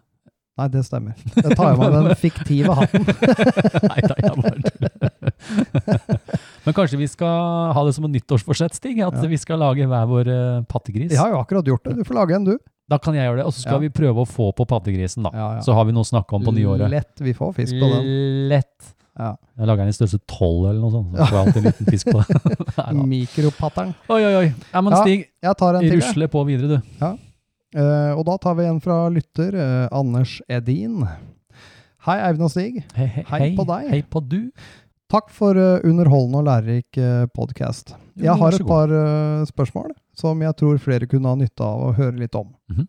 Speaker 6: Nei, det stemmer. Jeg tar av meg den fiktive hatten.
Speaker 5: Nei da, jeg bare tuller. Men kanskje vi skal ha det som en nyttårsforsett, Stig? At
Speaker 6: Ja.
Speaker 5: vi skal lage hver vår eh, pattegris?
Speaker 6: Jeg har jo akkurat gjort det. Du får lage en, du.
Speaker 5: Da kan jeg gjøre det. Og så skal
Speaker 6: Ja.
Speaker 5: vi prøve å få på pattegrisen, da.
Speaker 6: Ja, ja.
Speaker 5: Så har vi noe å snakke om på nyåret.
Speaker 6: Lett. Vi får fisk på den.
Speaker 5: Lett.
Speaker 6: Ja.
Speaker 5: Jeg lager den i størrelse 12 eller noe sånt. Så får jeg alltid en liten fisk på det. Neida.
Speaker 6: Mikropattern.
Speaker 5: oi, oi, oi. Ja, men
Speaker 6: Ja.
Speaker 5: Stig,
Speaker 6: Jeg tar en til. jeg.
Speaker 5: rusle på videre, du.
Speaker 6: Eh, og da tar vi en fra lytter, eh, Anders Edin. Hei, Eivind og Stig.
Speaker 5: Hei, hei,
Speaker 6: Hei på deg.
Speaker 5: Hei på du.
Speaker 6: Takk for eh, underholdende og lærerik eh, podcast.
Speaker 5: Jo,
Speaker 6: Jeg
Speaker 5: vær
Speaker 6: har
Speaker 5: så
Speaker 6: et
Speaker 5: god.
Speaker 6: par eh, spørsmål som jeg tror flere kunne ha nytte av å høre litt om.
Speaker 5: Mhm.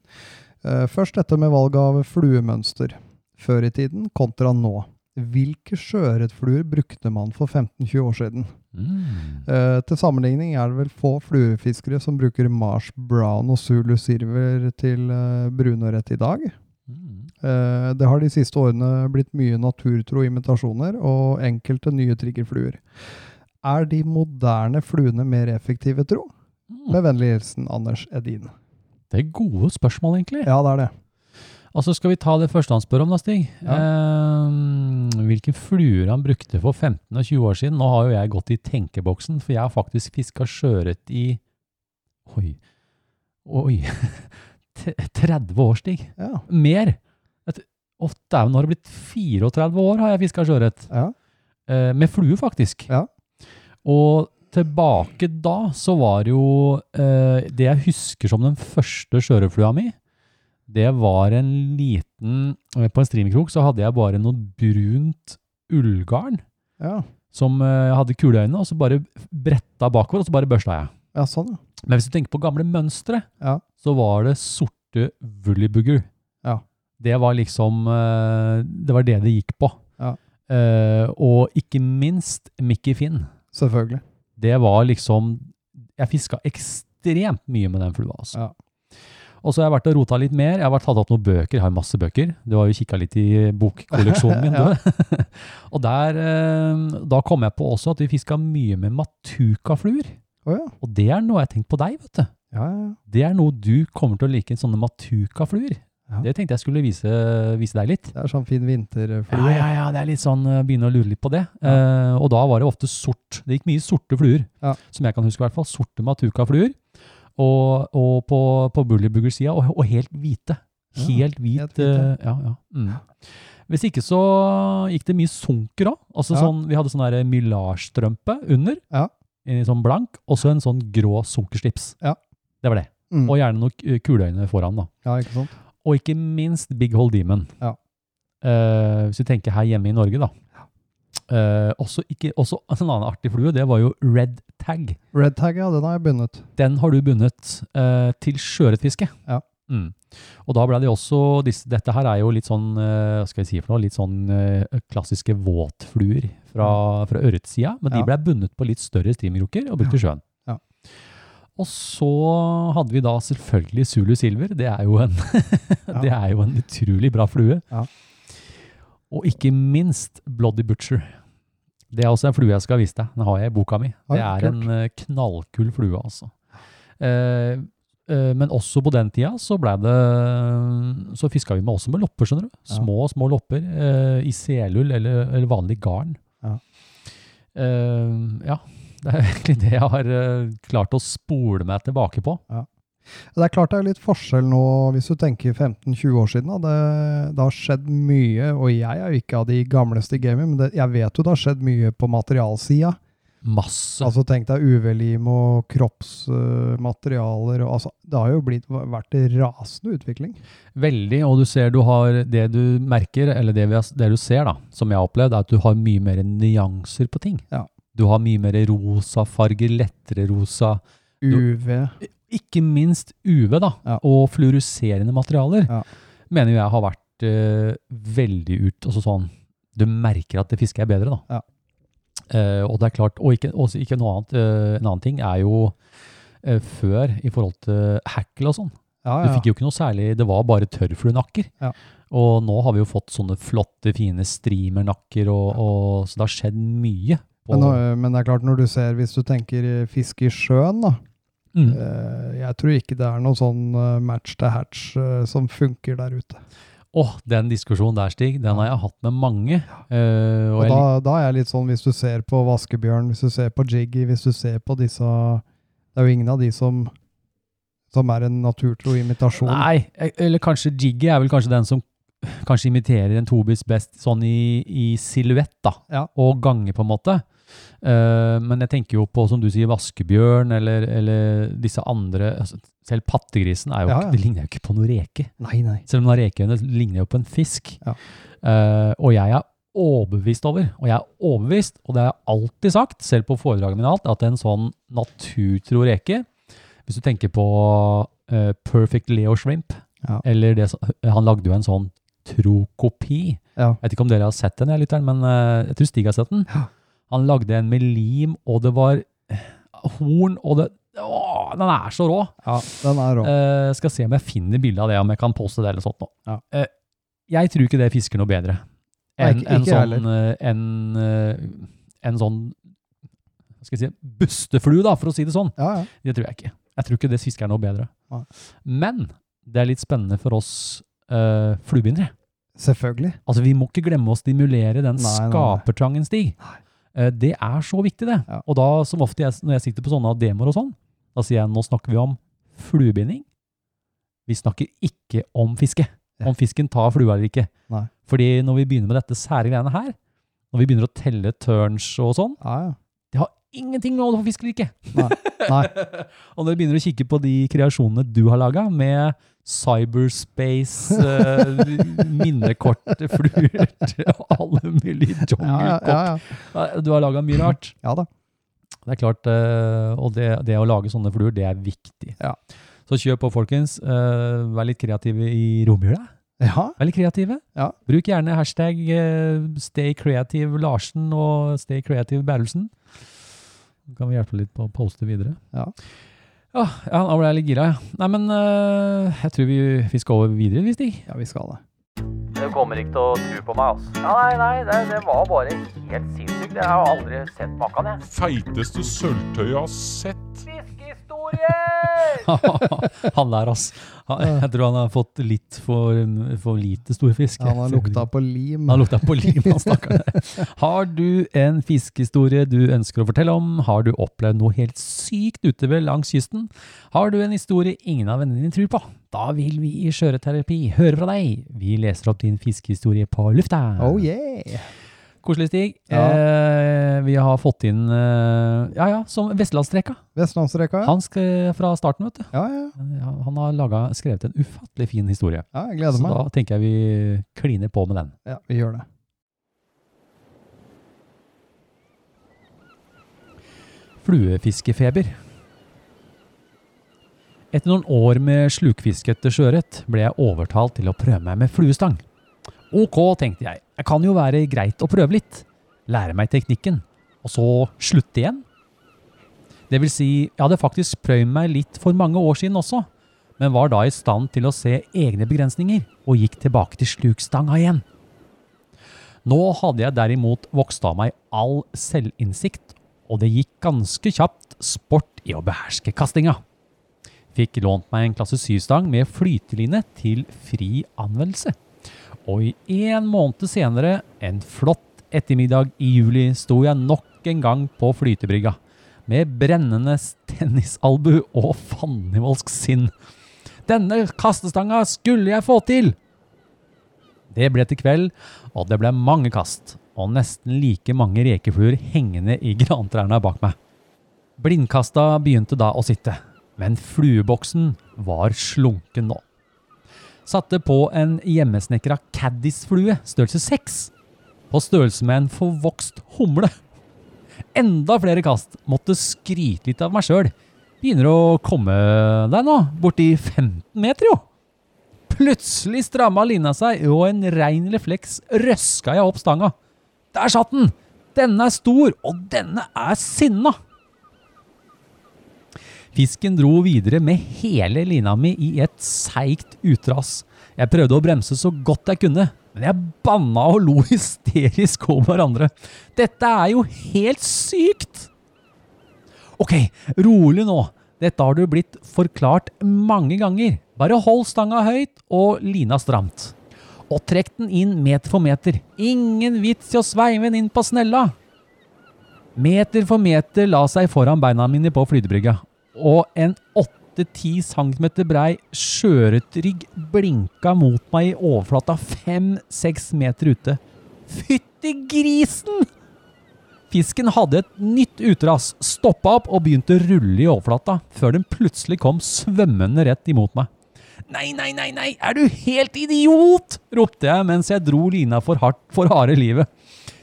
Speaker 6: Eh, Først dette med valg av fluemønster. Før i tiden kontra nå. Hvilke sjøørretfluer brukte man for 15-20 år siden?
Speaker 5: Mm.
Speaker 6: Eh, til sammenligning er det vel få fluefiskere som bruker Mars Brown og Zulu Silver til eh, brunørret i dag.
Speaker 5: Mm.
Speaker 6: Eh, Det har de siste årene blitt mye naturtro imitasjoner og enkelte nye triggerfluer. Er de moderne fluene mer effektive, tro?
Speaker 5: Mm.
Speaker 6: Med vennlig hilsen Anders Edin.
Speaker 5: Det er gode spørsmål, egentlig.
Speaker 6: Ja, det er det.
Speaker 5: Altså skal vi ta det første han spør om, da, Stig. Eh, hvilke fluer han brukte for 15 og 20 år siden. Nå har jo jeg gått i tenkeboksen, for jeg har faktisk fiska sjøørret i Oi. Oi. T- 30 år, Stig.
Speaker 6: Ja.
Speaker 5: Mer. Et, å, dæven, nå har det blitt 34 år har jeg fiska sjøørret.
Speaker 6: ja.
Speaker 5: Eh, med flue, faktisk.
Speaker 6: Ja.
Speaker 5: Og tilbake da, så var det jo eh, Det jeg husker som den første sjørøverflua mi, det var en liten eh, På en streamkrok så hadde jeg bare noe brunt ullgarn
Speaker 6: Ja,
Speaker 5: som eh, hadde kuleøyne, og så bare bretta bakover, og så bare børsta jeg.
Speaker 6: ja sånn, ja.
Speaker 5: Men hvis du tenker på gamle mønstre,
Speaker 6: Ja.
Speaker 5: så var det sorte Woollybuger.
Speaker 6: Ja.
Speaker 5: Det var liksom eh, Det var det det gikk på.
Speaker 6: Ja.
Speaker 5: Eh, og ikke minst Mickey Finn.
Speaker 6: Selvfølgelig.
Speaker 5: Det var liksom Jeg fiska ekstremt mye med den flua. altså.
Speaker 6: Ja.
Speaker 5: Og så har jeg vært og rota litt mer. Jeg har vært tatt opp noen bøker. Jeg har masse bøker. Du har jo kikka litt i bokkolleksjonen min. du. og der, eh, da kom jeg på også at vi fiska mye med matukafluer.
Speaker 6: Å ja.
Speaker 5: Og det er noe jeg har tenkt på deg, vet du.
Speaker 6: Ja, ja, ja.
Speaker 5: Det er noe du kommer til å like, sånne matukafluer.
Speaker 6: Ja.
Speaker 5: Det tenkte jeg skulle vise, vise deg litt.
Speaker 6: Det er sånn fin vinterflue.
Speaker 5: Ja, ja, ja, det er litt sånn, eh, begynne å lure litt på det. Eh, og da var det ofte sort. Det gikk mye sorte fluer,
Speaker 6: Ja.
Speaker 5: som jeg kan huske i hvert fall. Sorte matukafluer, og, og på, på bullybugger-sida, og, og helt hvite.
Speaker 6: Ja,
Speaker 5: Helt hvit.
Speaker 6: helt hvite.
Speaker 5: eh, ja, ja. Mm. Hvis ikke så gikk det mye sunker òg. Altså
Speaker 6: Ja.
Speaker 5: sånn, vi hadde sånn der mylarstrømpe under,
Speaker 6: Ja.
Speaker 5: i sånn blank, og så en sånn grå sunkerslips.
Speaker 6: Ja.
Speaker 5: Det var det.
Speaker 6: Mm.
Speaker 5: Og gjerne noen k- kuleøyne foran, da.
Speaker 6: Ja, ikke sant?
Speaker 5: Og ikke minst Big Hole Demon.
Speaker 6: Ja.
Speaker 5: Eh, hvis vi tenker her hjemme i Norge, da. Eh, også, ikke, også en annen artig flue, det var jo red tag.
Speaker 6: Red tag, ja, den har jeg bundet.
Speaker 5: Den har du bundet eh, til sjøørretfiske.
Speaker 6: Ja.
Speaker 5: Mm. Og da ble det også disse, Dette her er jo litt sånn eh, hva skal jeg si for noe, litt sånn eh, klassiske våtfluer fra, fra ørretsida, men
Speaker 6: Ja.
Speaker 5: de ble bundet på litt større streamkroker og brukt i sjøen.
Speaker 6: Ja.
Speaker 5: Og så hadde vi da selvfølgelig Zulu Silver. Det er jo en, det er jo en utrolig bra flue.
Speaker 6: Ja.
Speaker 5: Og ikke minst Bloody Butcher. Det er også en flue jeg skal vise deg. Den har jeg i boka mi.
Speaker 6: Oi,
Speaker 5: Det er en
Speaker 6: kult.
Speaker 5: eh, knallkul flue, altså. Eh, eh, men også på den tida så ble det Så fiska vi med også med lopper, skjønner du.
Speaker 6: Ja.
Speaker 5: Små, små lopper eh, i selull eller, eller vanlig garn.
Speaker 6: Ja.
Speaker 5: Eh, ja. Det er egentlig det jeg har eh, klart å spole meg tilbake på.
Speaker 6: Det er klart det er litt forskjell nå, hvis du tenker 15-20 år siden. Da. Det, det har skjedd mye, og jeg er jo ikke av de gamleste i gamet, men det, jeg vet jo det har skjedd mye på materialsida.
Speaker 5: Masse.
Speaker 6: Altså tenk deg UV-lim og kroppsmaterialer. og altså, det har jo blitt, vært rasende utvikling.
Speaker 5: Veldig, og du ser du har det du merker, eller det, vi har, det du ser da, som jeg har opplevd, er at du har mye mer nyanser på ting.
Speaker 6: Ja.
Speaker 5: Du har mye mer rosa farger, lettere rosa,
Speaker 6: UV.
Speaker 5: ikke minst UV da,
Speaker 6: Ja.
Speaker 5: og fluorescerende materialer,
Speaker 6: Ja.
Speaker 5: mener jo jeg har vært eh, veldig ut, altså sånn, du merker at det fisker er bedre da.
Speaker 6: Ja.
Speaker 5: Eh, og det er klart, og ikke, også ikke noe annet, eh, en annen ting er jo eh, før i forhold til hackle og sånn,
Speaker 6: Ja,
Speaker 5: du
Speaker 6: ja.
Speaker 5: fikk jo ikke noe særlig, det var bare tørrfluenakker.
Speaker 6: Ja.
Speaker 5: Og nå har vi jo fått sånne flotte, fine streamernakker, og, og, så det har skjedd mye. på-
Speaker 6: Men, nå- men det er klart, når du ser, hvis du tenker eh, fiske i sjøen, da,
Speaker 5: mm.
Speaker 6: Eh, Jeg tror ikke det er noen sånn eh, match to hatch eh, som funker der ute.
Speaker 5: Åh, den diskusjonen der, Stig, den har jeg hatt med mange. eh, og
Speaker 6: Og
Speaker 5: jeg
Speaker 6: da, da er jeg litt sånn, hvis du ser på vaskebjørn, hvis du ser på jiggy, hvis du ser på disse Det er jo ingen av de som, som er en naturtro imitasjon.
Speaker 5: Nei, eh, eller kanskje Jiggy er vel kanskje den som kanskje imiterer en Tobis best sånn i, i silhuett, da.
Speaker 6: Ja.
Speaker 5: Og gange, på en måte. Eh, men jeg tenker jo på, som du sier, vaskebjørn eller, eller disse andre altså, Selv pattegrisen er jo
Speaker 6: Ja,
Speaker 5: ikke,
Speaker 6: ja.
Speaker 5: det ligner jo ikke på noen reke.
Speaker 6: Nei, nei.
Speaker 5: Selv om den har rekeøyne, ligner jo på en fisk.
Speaker 6: Ja.
Speaker 5: Eh, og jeg er overbevist over, og jeg er overbevist, og det har jeg alltid sagt, selv på foredragene mine og alt, at en sånn naturtro reke, hvis du tenker på eh, Perfect Leo Shrimp,
Speaker 6: Ja.
Speaker 5: eller det, som- han lagde jo en sånn trokopi.
Speaker 6: Ja.
Speaker 5: Jeg vet ikke om dere har sett den, jeg, lytteren, men eh, jeg tror Stig har sett den.
Speaker 6: Ja.
Speaker 5: Han lagde en med lim, og det var eh, horn, og det, åh, den er så rå.
Speaker 6: Ja, den er rå.
Speaker 5: Eh, skal se om jeg finner bilde av det, om jeg kan poste det eller sånt nå.
Speaker 6: Ja.
Speaker 5: Eh, jeg tror ikke det fisker noe bedre
Speaker 6: Nei,
Speaker 5: enn
Speaker 6: ikke-
Speaker 5: en
Speaker 6: ikke jeg
Speaker 5: sånn, eh, en, eh, en sånn hva skal jeg si, busteflue, da, for å si det sånn.
Speaker 6: Ja, ja.
Speaker 5: Det tror jeg ikke. Jeg tror ikke det fisker er noe bedre.
Speaker 6: Nei.
Speaker 5: Men det er litt spennende for oss uh, fluebindere.
Speaker 6: Selvfølgelig.
Speaker 5: Altså, vi må ikke glemme å stimulere den
Speaker 6: Nei, nei, nei.
Speaker 5: skapertrangen, Stig. Eh, Det er så viktig, det.
Speaker 6: Ja.
Speaker 5: Og da, som ofte jeg, når jeg sitter på sånne demoer og sånn, da sier jeg nå snakker vi om fluebinding. Vi snakker ikke om fiske.
Speaker 6: Ja.
Speaker 5: Om fisken tar flua eller ikke.
Speaker 6: Nei.
Speaker 5: Fordi når vi begynner med dette sære greiene her, når vi begynner å telle turns og sånn,
Speaker 6: Ja, ja.
Speaker 5: Jeg har ingenting med å holde på fisk eller ikke.
Speaker 6: Nei. Nei.
Speaker 5: Og når du begynner å kikke på de kreasjonene du har laga, med cyberspace, eh, minnekort, fluer og alle mulige
Speaker 6: Ja, ja,
Speaker 5: jungelkort
Speaker 6: ja, ja.
Speaker 5: Du har laga mye rart.
Speaker 6: ja da.
Speaker 5: Det er klart, eh, og det, det å lage sånne fluer, det er viktig.
Speaker 6: Ja.
Speaker 5: Så kjør på, folkens. Eh, Vær litt kreative i romjula.
Speaker 6: Ja,
Speaker 5: Vær litt kreative.
Speaker 6: Ja.
Speaker 5: Bruk gjerne hashtag eh, Stay Creative Larsen og Stay Creative Bærelsen. Så kan vi hjelpe litt på å poste videre.
Speaker 6: Ja.
Speaker 5: Ja, ja nå ble jeg litt gira, ja. Nei, men eh, jeg tror vi, vi skal over videre, vi, Stig.
Speaker 6: ja, vi skal det.
Speaker 2: Du kommer ikke til å tro på meg, altså. Ja, nei, nei, det, det var bare helt sinnssykt. Jeg har aldri sett maken, jeg.
Speaker 3: Feiteste sølvtøyet jeg har sett.
Speaker 2: Fiskehistorier!
Speaker 5: han der, ass. Han, jeg tror han har fått litt for, for lite storfisk.
Speaker 6: Ja, han har lukta på lim.
Speaker 5: Han lukta på lim, han stakkaren. Har du en fiskehistorie du ønsker å fortelle om? Har du opplevd noe helt sykt ute ved langs kysten? Har du en historie ingen av vennene dine tror på? Da vil vi i Skjøreterapi høre fra deg. Vi leser opp din fiskehistorie på lufta.
Speaker 6: Oh yeah!
Speaker 5: Koselig, Stig.
Speaker 6: Ja.
Speaker 5: Eh, vi har fått inn eh, Ja, ja, som Vestlandsrekka.
Speaker 6: Vestlandsrekka, ja.
Speaker 5: Han skal fra starten, vet du.
Speaker 6: Ja, ja.
Speaker 5: Ja, Han har laget, skrevet en ufattelig fin historie.
Speaker 6: ja
Speaker 5: Så
Speaker 6: jeg gleder meg.
Speaker 5: da tenker jeg vi kliner på med den.
Speaker 6: Ja, vi gjør det.
Speaker 5: Fluefiskefeber. Etter noen år med slukfiske etter sjøørret ble jeg overtalt til å prøve meg med fluestang. Ok, tenkte jeg. Det kan jo være greit å prøve litt. Lære meg teknikken. Og så slutte igjen. Det vil si, jeg hadde faktisk prøvd meg litt for mange år siden også, men var da i stand til å se egne begrensninger, og gikk tilbake til slukstanga igjen. Nå hadde jeg derimot vokst av meg all selvinnsikt, og det gikk ganske kjapt sport i å beherske kastinga. Fikk lånt meg en klasse 7-stang med flyteline til fri anvendelse. Og i en måned senere, en flott ettermiddag i juli, sto jeg nok en gang på flytebrygga. Med brennende tennisalbu og fannivoldsk sinn. Denne kastestanga skulle jeg få til! Det ble til kveld, og det ble mange kast, og nesten like mange rekefluer hengende i grantrærne bak meg. Blindkasta begynte da å sitte, men flueboksen var slunken nå. Satte på en hjemmesnekra caddisflue størrelse 6, på størrelse med en forvokst humle. Enda flere kast, måtte skryte litt av meg sjøl. Begynner å komme deg nå, borti 15 meter jo. Plutselig stramma lina seg, og en rein refleks røska jeg opp stanga. Der satt den! Denne er stor, og denne er sinna! Fisken dro videre med hele lina mi i et seigt utras. Jeg prøvde å bremse så godt jeg kunne, men jeg banna og lo hysterisk om hverandre. Dette er jo helt sykt! Ok, rolig nå. Dette har du blitt forklart mange ganger. Bare hold stanga høyt og lina stramt. Og trekk den inn meter for meter. Ingen vits i å sveive den inn på snella. Meter for meter la seg foran beina mine på flytebrygga, og en 8-10 cm brei sjøørretrygg blinka mot meg i overflata 5-6 meter ute. Fytti grisen! Fisken hadde et nytt utras, stoppa opp og begynte å rulle i overflata, før den plutselig kom svømmende rett imot meg. Nei, nei, nei, nei, er du helt idiot? ropte jeg mens jeg dro lina for hardt for harde livet.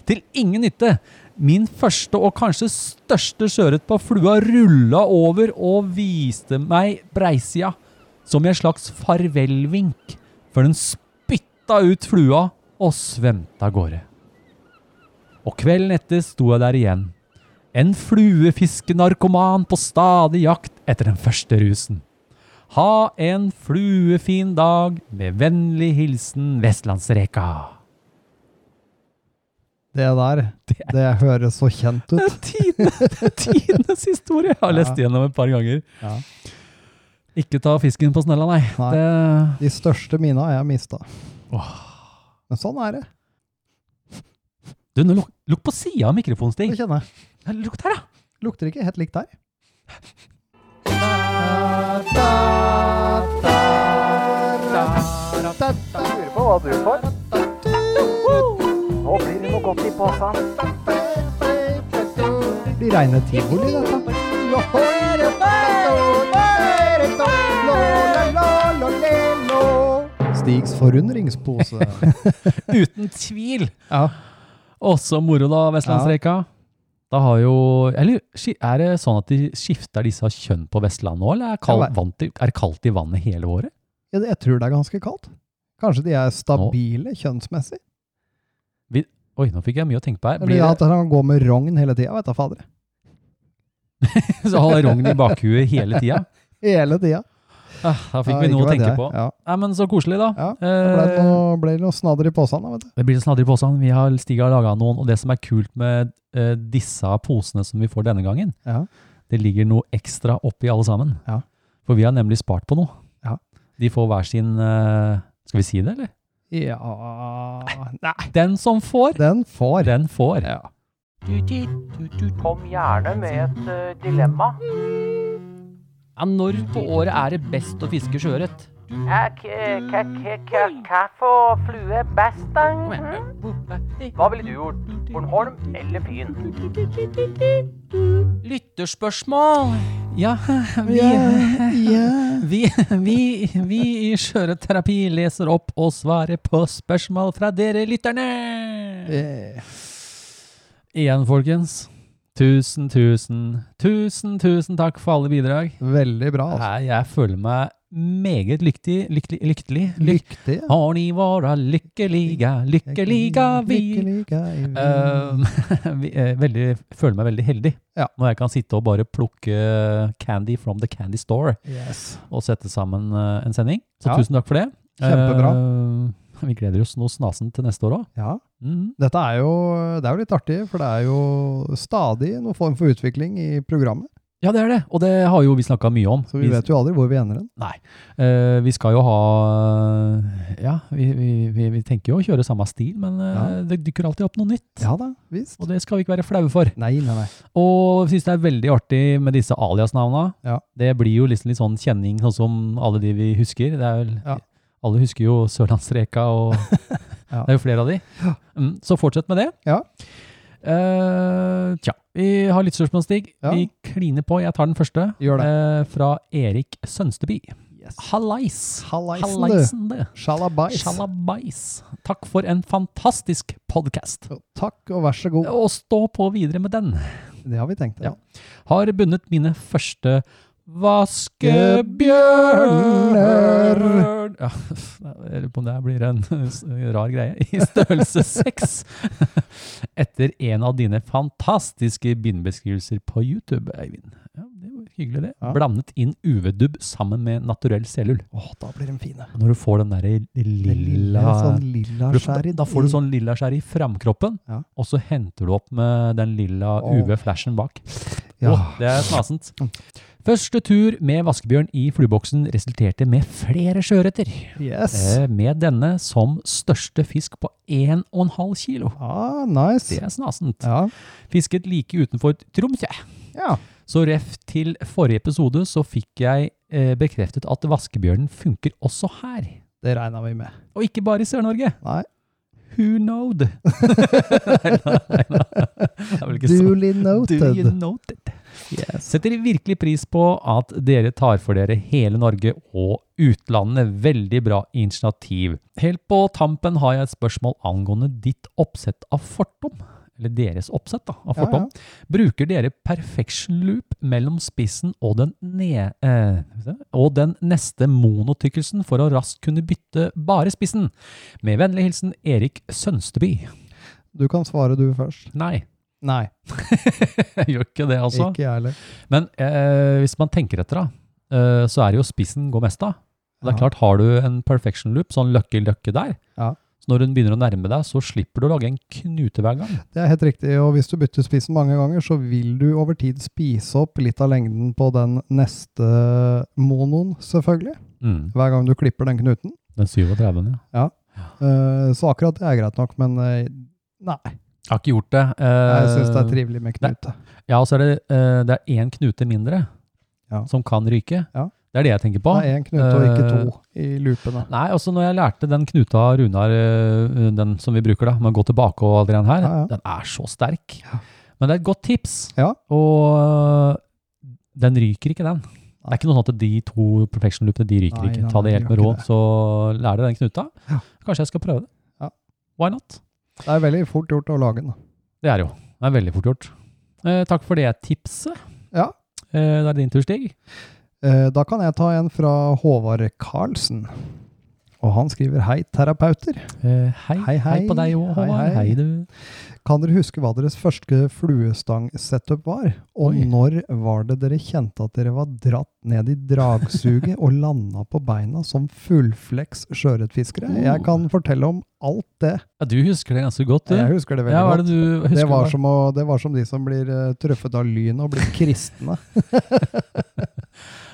Speaker 5: Til ingen nytte. Min første og kanskje største sjøørret på flua rulla over og viste meg breisida, som i en slags farvelvink, før den spytta ut flua og svømte av gårde. Og kvelden etter sto jeg der igjen. En fluefiskenarkoman på stadig jakt etter den første rusen. Ha en fluefin dag, med vennlig hilsen Vestlandsreka.
Speaker 6: Det der, det høres så kjent
Speaker 5: Det
Speaker 6: ut.
Speaker 5: er tine, det er tidenes historie! Jeg har lest
Speaker 6: Ja.
Speaker 5: gjennom et par ganger.
Speaker 6: Ja.
Speaker 5: Ikke ta fisken på snella, nei.
Speaker 6: Nei.
Speaker 5: Det,
Speaker 6: De største mina har jeg mista. Men sånn er det.
Speaker 5: du, nå luk, lukk på sida av mikrofonen,
Speaker 6: Det
Speaker 5: Stig.
Speaker 6: kjenner jeg.
Speaker 5: Lukt her, da!
Speaker 6: Lukter ikke helt likt der.
Speaker 4: Lurer på hva du får.
Speaker 2: Nå blir det noe godt i posen.
Speaker 6: blir reine tivoli, dette. Stigs forundringspose.
Speaker 5: Uten tvil!
Speaker 6: Ja.
Speaker 5: Også moro, da, Vestlandsreka. Da har jo Eller ski- er det sånn at de skifter disse kjønn på Vestlandet òg, eller er, kald,
Speaker 6: Jeg vet.
Speaker 5: vant i, er det kaldt i vannet hele året?
Speaker 6: Ja, det- Jeg tror det er ganske kaldt. Kanskje de er stabile kjønnsmessig?
Speaker 5: Oi, nå fikk jeg mye å tenke på her.
Speaker 6: Eller
Speaker 5: Blir
Speaker 6: at han går med rogn hele tida, vet du fader.
Speaker 5: det så har rogn i bakhuet hele tida?
Speaker 6: Hele tida.
Speaker 5: Ah, da fikk
Speaker 6: Ja,
Speaker 5: vi noe å
Speaker 6: ikke vet
Speaker 5: tenke
Speaker 6: jeg.
Speaker 5: på.
Speaker 6: Ja.
Speaker 5: Nei, men så koselig, da.
Speaker 6: Ja, Ble det
Speaker 5: Eh,
Speaker 6: noe, ble det noe snadder i posen, da, vet du.
Speaker 5: Det blir snadder i posen. Vi har stiga og laga noen, og det som er kult med eh, disse posene som vi får denne gangen,
Speaker 6: Ja.
Speaker 5: det ligger noe ekstra oppi alle sammen.
Speaker 6: Ja.
Speaker 5: For vi har nemlig spart på noe.
Speaker 6: Ja.
Speaker 5: De får hver sin eh, Skal vi si det, eller?
Speaker 6: Ja Nei.
Speaker 5: Den som får,
Speaker 6: Den får.
Speaker 5: den får.
Speaker 2: Kom gjerne med et eh, dilemma.
Speaker 1: Ja, når på året er det best å fiske sjøørret?
Speaker 2: Hva for flue best, da? mm. Hva ville du gjort? Bornholm eller Fyn?
Speaker 1: Lytterspørsmål!
Speaker 5: Ja, vi,
Speaker 6: Ja.
Speaker 5: vi, vi, vi i Skjøreterapi leser opp og svarer på spørsmål fra dere lytterne.
Speaker 6: Eh,
Speaker 5: Igjen, folkens. Tusen, tusen, tusen, tusen takk for alle bidrag.
Speaker 6: Veldig bra, altså.
Speaker 5: Nei, jeg føler meg meget lykkelig. Lykkelig. lykkelig. lyk-
Speaker 6: Lyktig. ja.
Speaker 5: Har ni vara lykkeliga, lykkeliga vi.
Speaker 6: Lykkeliga i vi.
Speaker 5: Eh, vi, eh, veldig, føler meg veldig heldig
Speaker 6: Ja.
Speaker 5: når jeg kan sitte og bare plukke candy from the candy store
Speaker 6: Yes.
Speaker 5: og sette sammen eh, en sending. Så
Speaker 6: Ja.
Speaker 5: tusen takk for det.
Speaker 6: Kjempebra. Mhm.
Speaker 5: Eh, vi gleder oss noe snasen til neste år òg.
Speaker 6: Ja.
Speaker 5: Mm.
Speaker 6: Dette er jo, det er jo litt artig, for det er jo stadig noen form for utvikling i programmet.
Speaker 5: Ja, det er det. Og det har jo vi snakka mye om.
Speaker 6: Så vi vet jo aldri hvor vi ender hen.
Speaker 5: Eh, vi skal jo ha Ja, vi, vi, vi, vi tenker jo å kjøre samme stil, men eh, det dukker alltid opp noe nytt.
Speaker 6: Ja da, visst.
Speaker 5: Og det skal vi ikke være flaue for.
Speaker 6: Nei, nei, nei.
Speaker 5: Og jeg syns det er veldig artig med disse alias-navna.
Speaker 6: Ja.
Speaker 5: Det blir jo liksom litt sånn kjenning, sånn som alle de vi husker. Det er vel,
Speaker 6: Ja.
Speaker 5: Alle husker jo Sørlandsreka, og
Speaker 6: Ja.
Speaker 5: det er jo flere av de. Mm, så fortsett med det.
Speaker 6: Ja.
Speaker 5: Eh, tja, vi har litt spørsmål, Stig.
Speaker 6: Ja.
Speaker 5: Vi kliner på. Jeg tar den første.
Speaker 6: Gjør det.
Speaker 5: Eh, fra Erik Sønsteby.
Speaker 6: Yes.
Speaker 5: Hallais!
Speaker 6: Hallaisen, du.
Speaker 5: Hallaisen, det.
Speaker 6: Shalabais.
Speaker 5: Sjalabais. Takk for en fantastisk podkast.
Speaker 6: Jo, Takk og vær så god.
Speaker 5: Og stå på videre med den.
Speaker 6: Det har vi tenkt. Ja.
Speaker 5: Har bundet mine første
Speaker 6: Vaskebjørner.
Speaker 5: vaskebjørner. Ja, jeg lurer på om det her blir en s- rar greie. I størrelse seks. Etter en av dine fantastiske bindbeskrivelser på YouTube, Eivind. Ja, det var hyggelig, det.
Speaker 6: Ja.
Speaker 5: Blandet inn UV-dubb sammen med naturell sellull.
Speaker 6: Åh, da blir de fine.
Speaker 5: Og Når du får den derre
Speaker 6: Det lille,
Speaker 5: lilla
Speaker 6: sånn lilla
Speaker 5: Du-
Speaker 6: skjær i
Speaker 5: Da får du sånn lilla skjær i framkroppen,
Speaker 6: Ja.
Speaker 5: og så henter du opp med den lilla
Speaker 6: Åh.
Speaker 5: UV-flashen bak. sånn,
Speaker 6: Ja.
Speaker 5: Åh, det er snasent. Første tur med vaskebjørn i flueboksen resulterte med flere sjøørreter.
Speaker 6: Yes.
Speaker 5: Eh, Med denne som største fisk på 1,5 kilo.
Speaker 6: Ah,
Speaker 5: Det
Speaker 6: nice.
Speaker 5: er snasent.
Speaker 6: Ja.
Speaker 5: Fisket like utenfor Tromsø.
Speaker 6: ja.
Speaker 5: Så ref til forrige episode så fikk jeg eh, bekreftet at vaskebjørnen funker også her.
Speaker 6: Det regna vi med.
Speaker 5: Og ikke bare i Sør-Norge.
Speaker 6: Nei.
Speaker 5: Who knowed? nei, nei, nei. Det er vel ikke så.
Speaker 6: Duly
Speaker 5: Do you
Speaker 6: noted.
Speaker 5: noted?
Speaker 6: Yes.
Speaker 5: Setter virkelig pris på at dere tar for dere hele Norge og utlandet. Veldig bra initiativ. Helt på tampen har jeg et spørsmål angående ditt oppsett av fortom. Eller deres oppsett da, av
Speaker 6: Ja,
Speaker 5: fortom. Bruker dere perfection loop mellom spissen og den, ne eh, skal vi se, og den neste monotykkelsen for å raskt kunne bytte bare spissen? Med vennlig hilsen Erik Sønsteby.
Speaker 6: Du kan svare du først.
Speaker 5: Nei,
Speaker 6: Nei,
Speaker 5: jeg gjør ikke det, altså.
Speaker 6: ikke jeg heller.
Speaker 5: Men eh, hvis man tenker etter, da, eh, så er det jo spissen går mest av. Og Det er
Speaker 6: Ja.
Speaker 5: klart, har du en perfection loop, sånn løkke-løkke der,
Speaker 6: Ja.
Speaker 5: så når hun begynner å nærme deg, så slipper du å lage en knute hver gang.
Speaker 6: Det er helt riktig, og hvis du bytter spissen mange ganger, så vil du over tid spise opp litt av lengden på den neste monoen, selvfølgelig.
Speaker 5: Mm.
Speaker 6: Hver gang du klipper den knuten.
Speaker 5: Den 37. ja.
Speaker 6: Eh, Så akkurat det er greit nok, men eh, nei.
Speaker 5: Jeg har ikke gjort det.
Speaker 6: Jeg syns det er
Speaker 5: Eh,
Speaker 6: trivelig med knute.
Speaker 5: Ja, og så er det, eh, det er én knute mindre
Speaker 6: Ja.
Speaker 5: som kan ryke.
Speaker 6: Ja.
Speaker 5: Det er det jeg tenker på.
Speaker 6: Det er én knute og ikke to
Speaker 5: Eh,
Speaker 6: i loopene.
Speaker 5: Nei, også når jeg lærte den knuta av eh, Runar, øh, den som vi bruker da, med å gå tilbake og all den her,
Speaker 6: Ja, ja.
Speaker 5: den er så sterk.
Speaker 6: Ja.
Speaker 5: Men det er et godt tips.
Speaker 6: Ja.
Speaker 5: Og øh, den ryker ikke, den. Det er ikke noe sånn at de to perfection loopene de ryker
Speaker 6: Nei,
Speaker 5: ikke.
Speaker 6: nei,
Speaker 5: Ta det
Speaker 6: nei,
Speaker 5: helt
Speaker 6: de
Speaker 5: med
Speaker 6: gjør
Speaker 5: råd,
Speaker 6: ikke det.
Speaker 5: så lær deg den knuta.
Speaker 6: Ja.
Speaker 5: Kanskje jeg skal prøve det.
Speaker 6: Ja.
Speaker 5: Why not?
Speaker 6: Det er veldig fort gjort å lage den. da.
Speaker 5: Det er jo. Det er veldig fort gjort. Eh, takk for det tipset.
Speaker 6: Ja.
Speaker 5: Eh, da er det din tur, Stig.
Speaker 6: Eh, Da kan jeg ta en fra Håvard Karlsen. Og han skriver hei, terapeuter.
Speaker 5: Eh, hei.
Speaker 6: Hei, hei.
Speaker 5: på deg òg,
Speaker 6: Hei,
Speaker 5: Håvard.
Speaker 6: hei.
Speaker 5: Hei, du.
Speaker 6: Kan dere huske hva deres første fluestang-setup var? Og
Speaker 5: Oi.
Speaker 6: når var det dere kjente at dere var dratt ned i dragsuget og landa på beina som fullfleks sjøørretfiskere? Jeg kan fortelle om alt det.
Speaker 5: Ja, du husker det ganske godt, Oh. du.
Speaker 6: Jeg husker det veldig
Speaker 5: ja, hva er
Speaker 6: godt.
Speaker 5: det du husker?
Speaker 6: Det var,
Speaker 5: da?
Speaker 6: som å, det var som de som blir eh, truffet av lyn og blir kristne.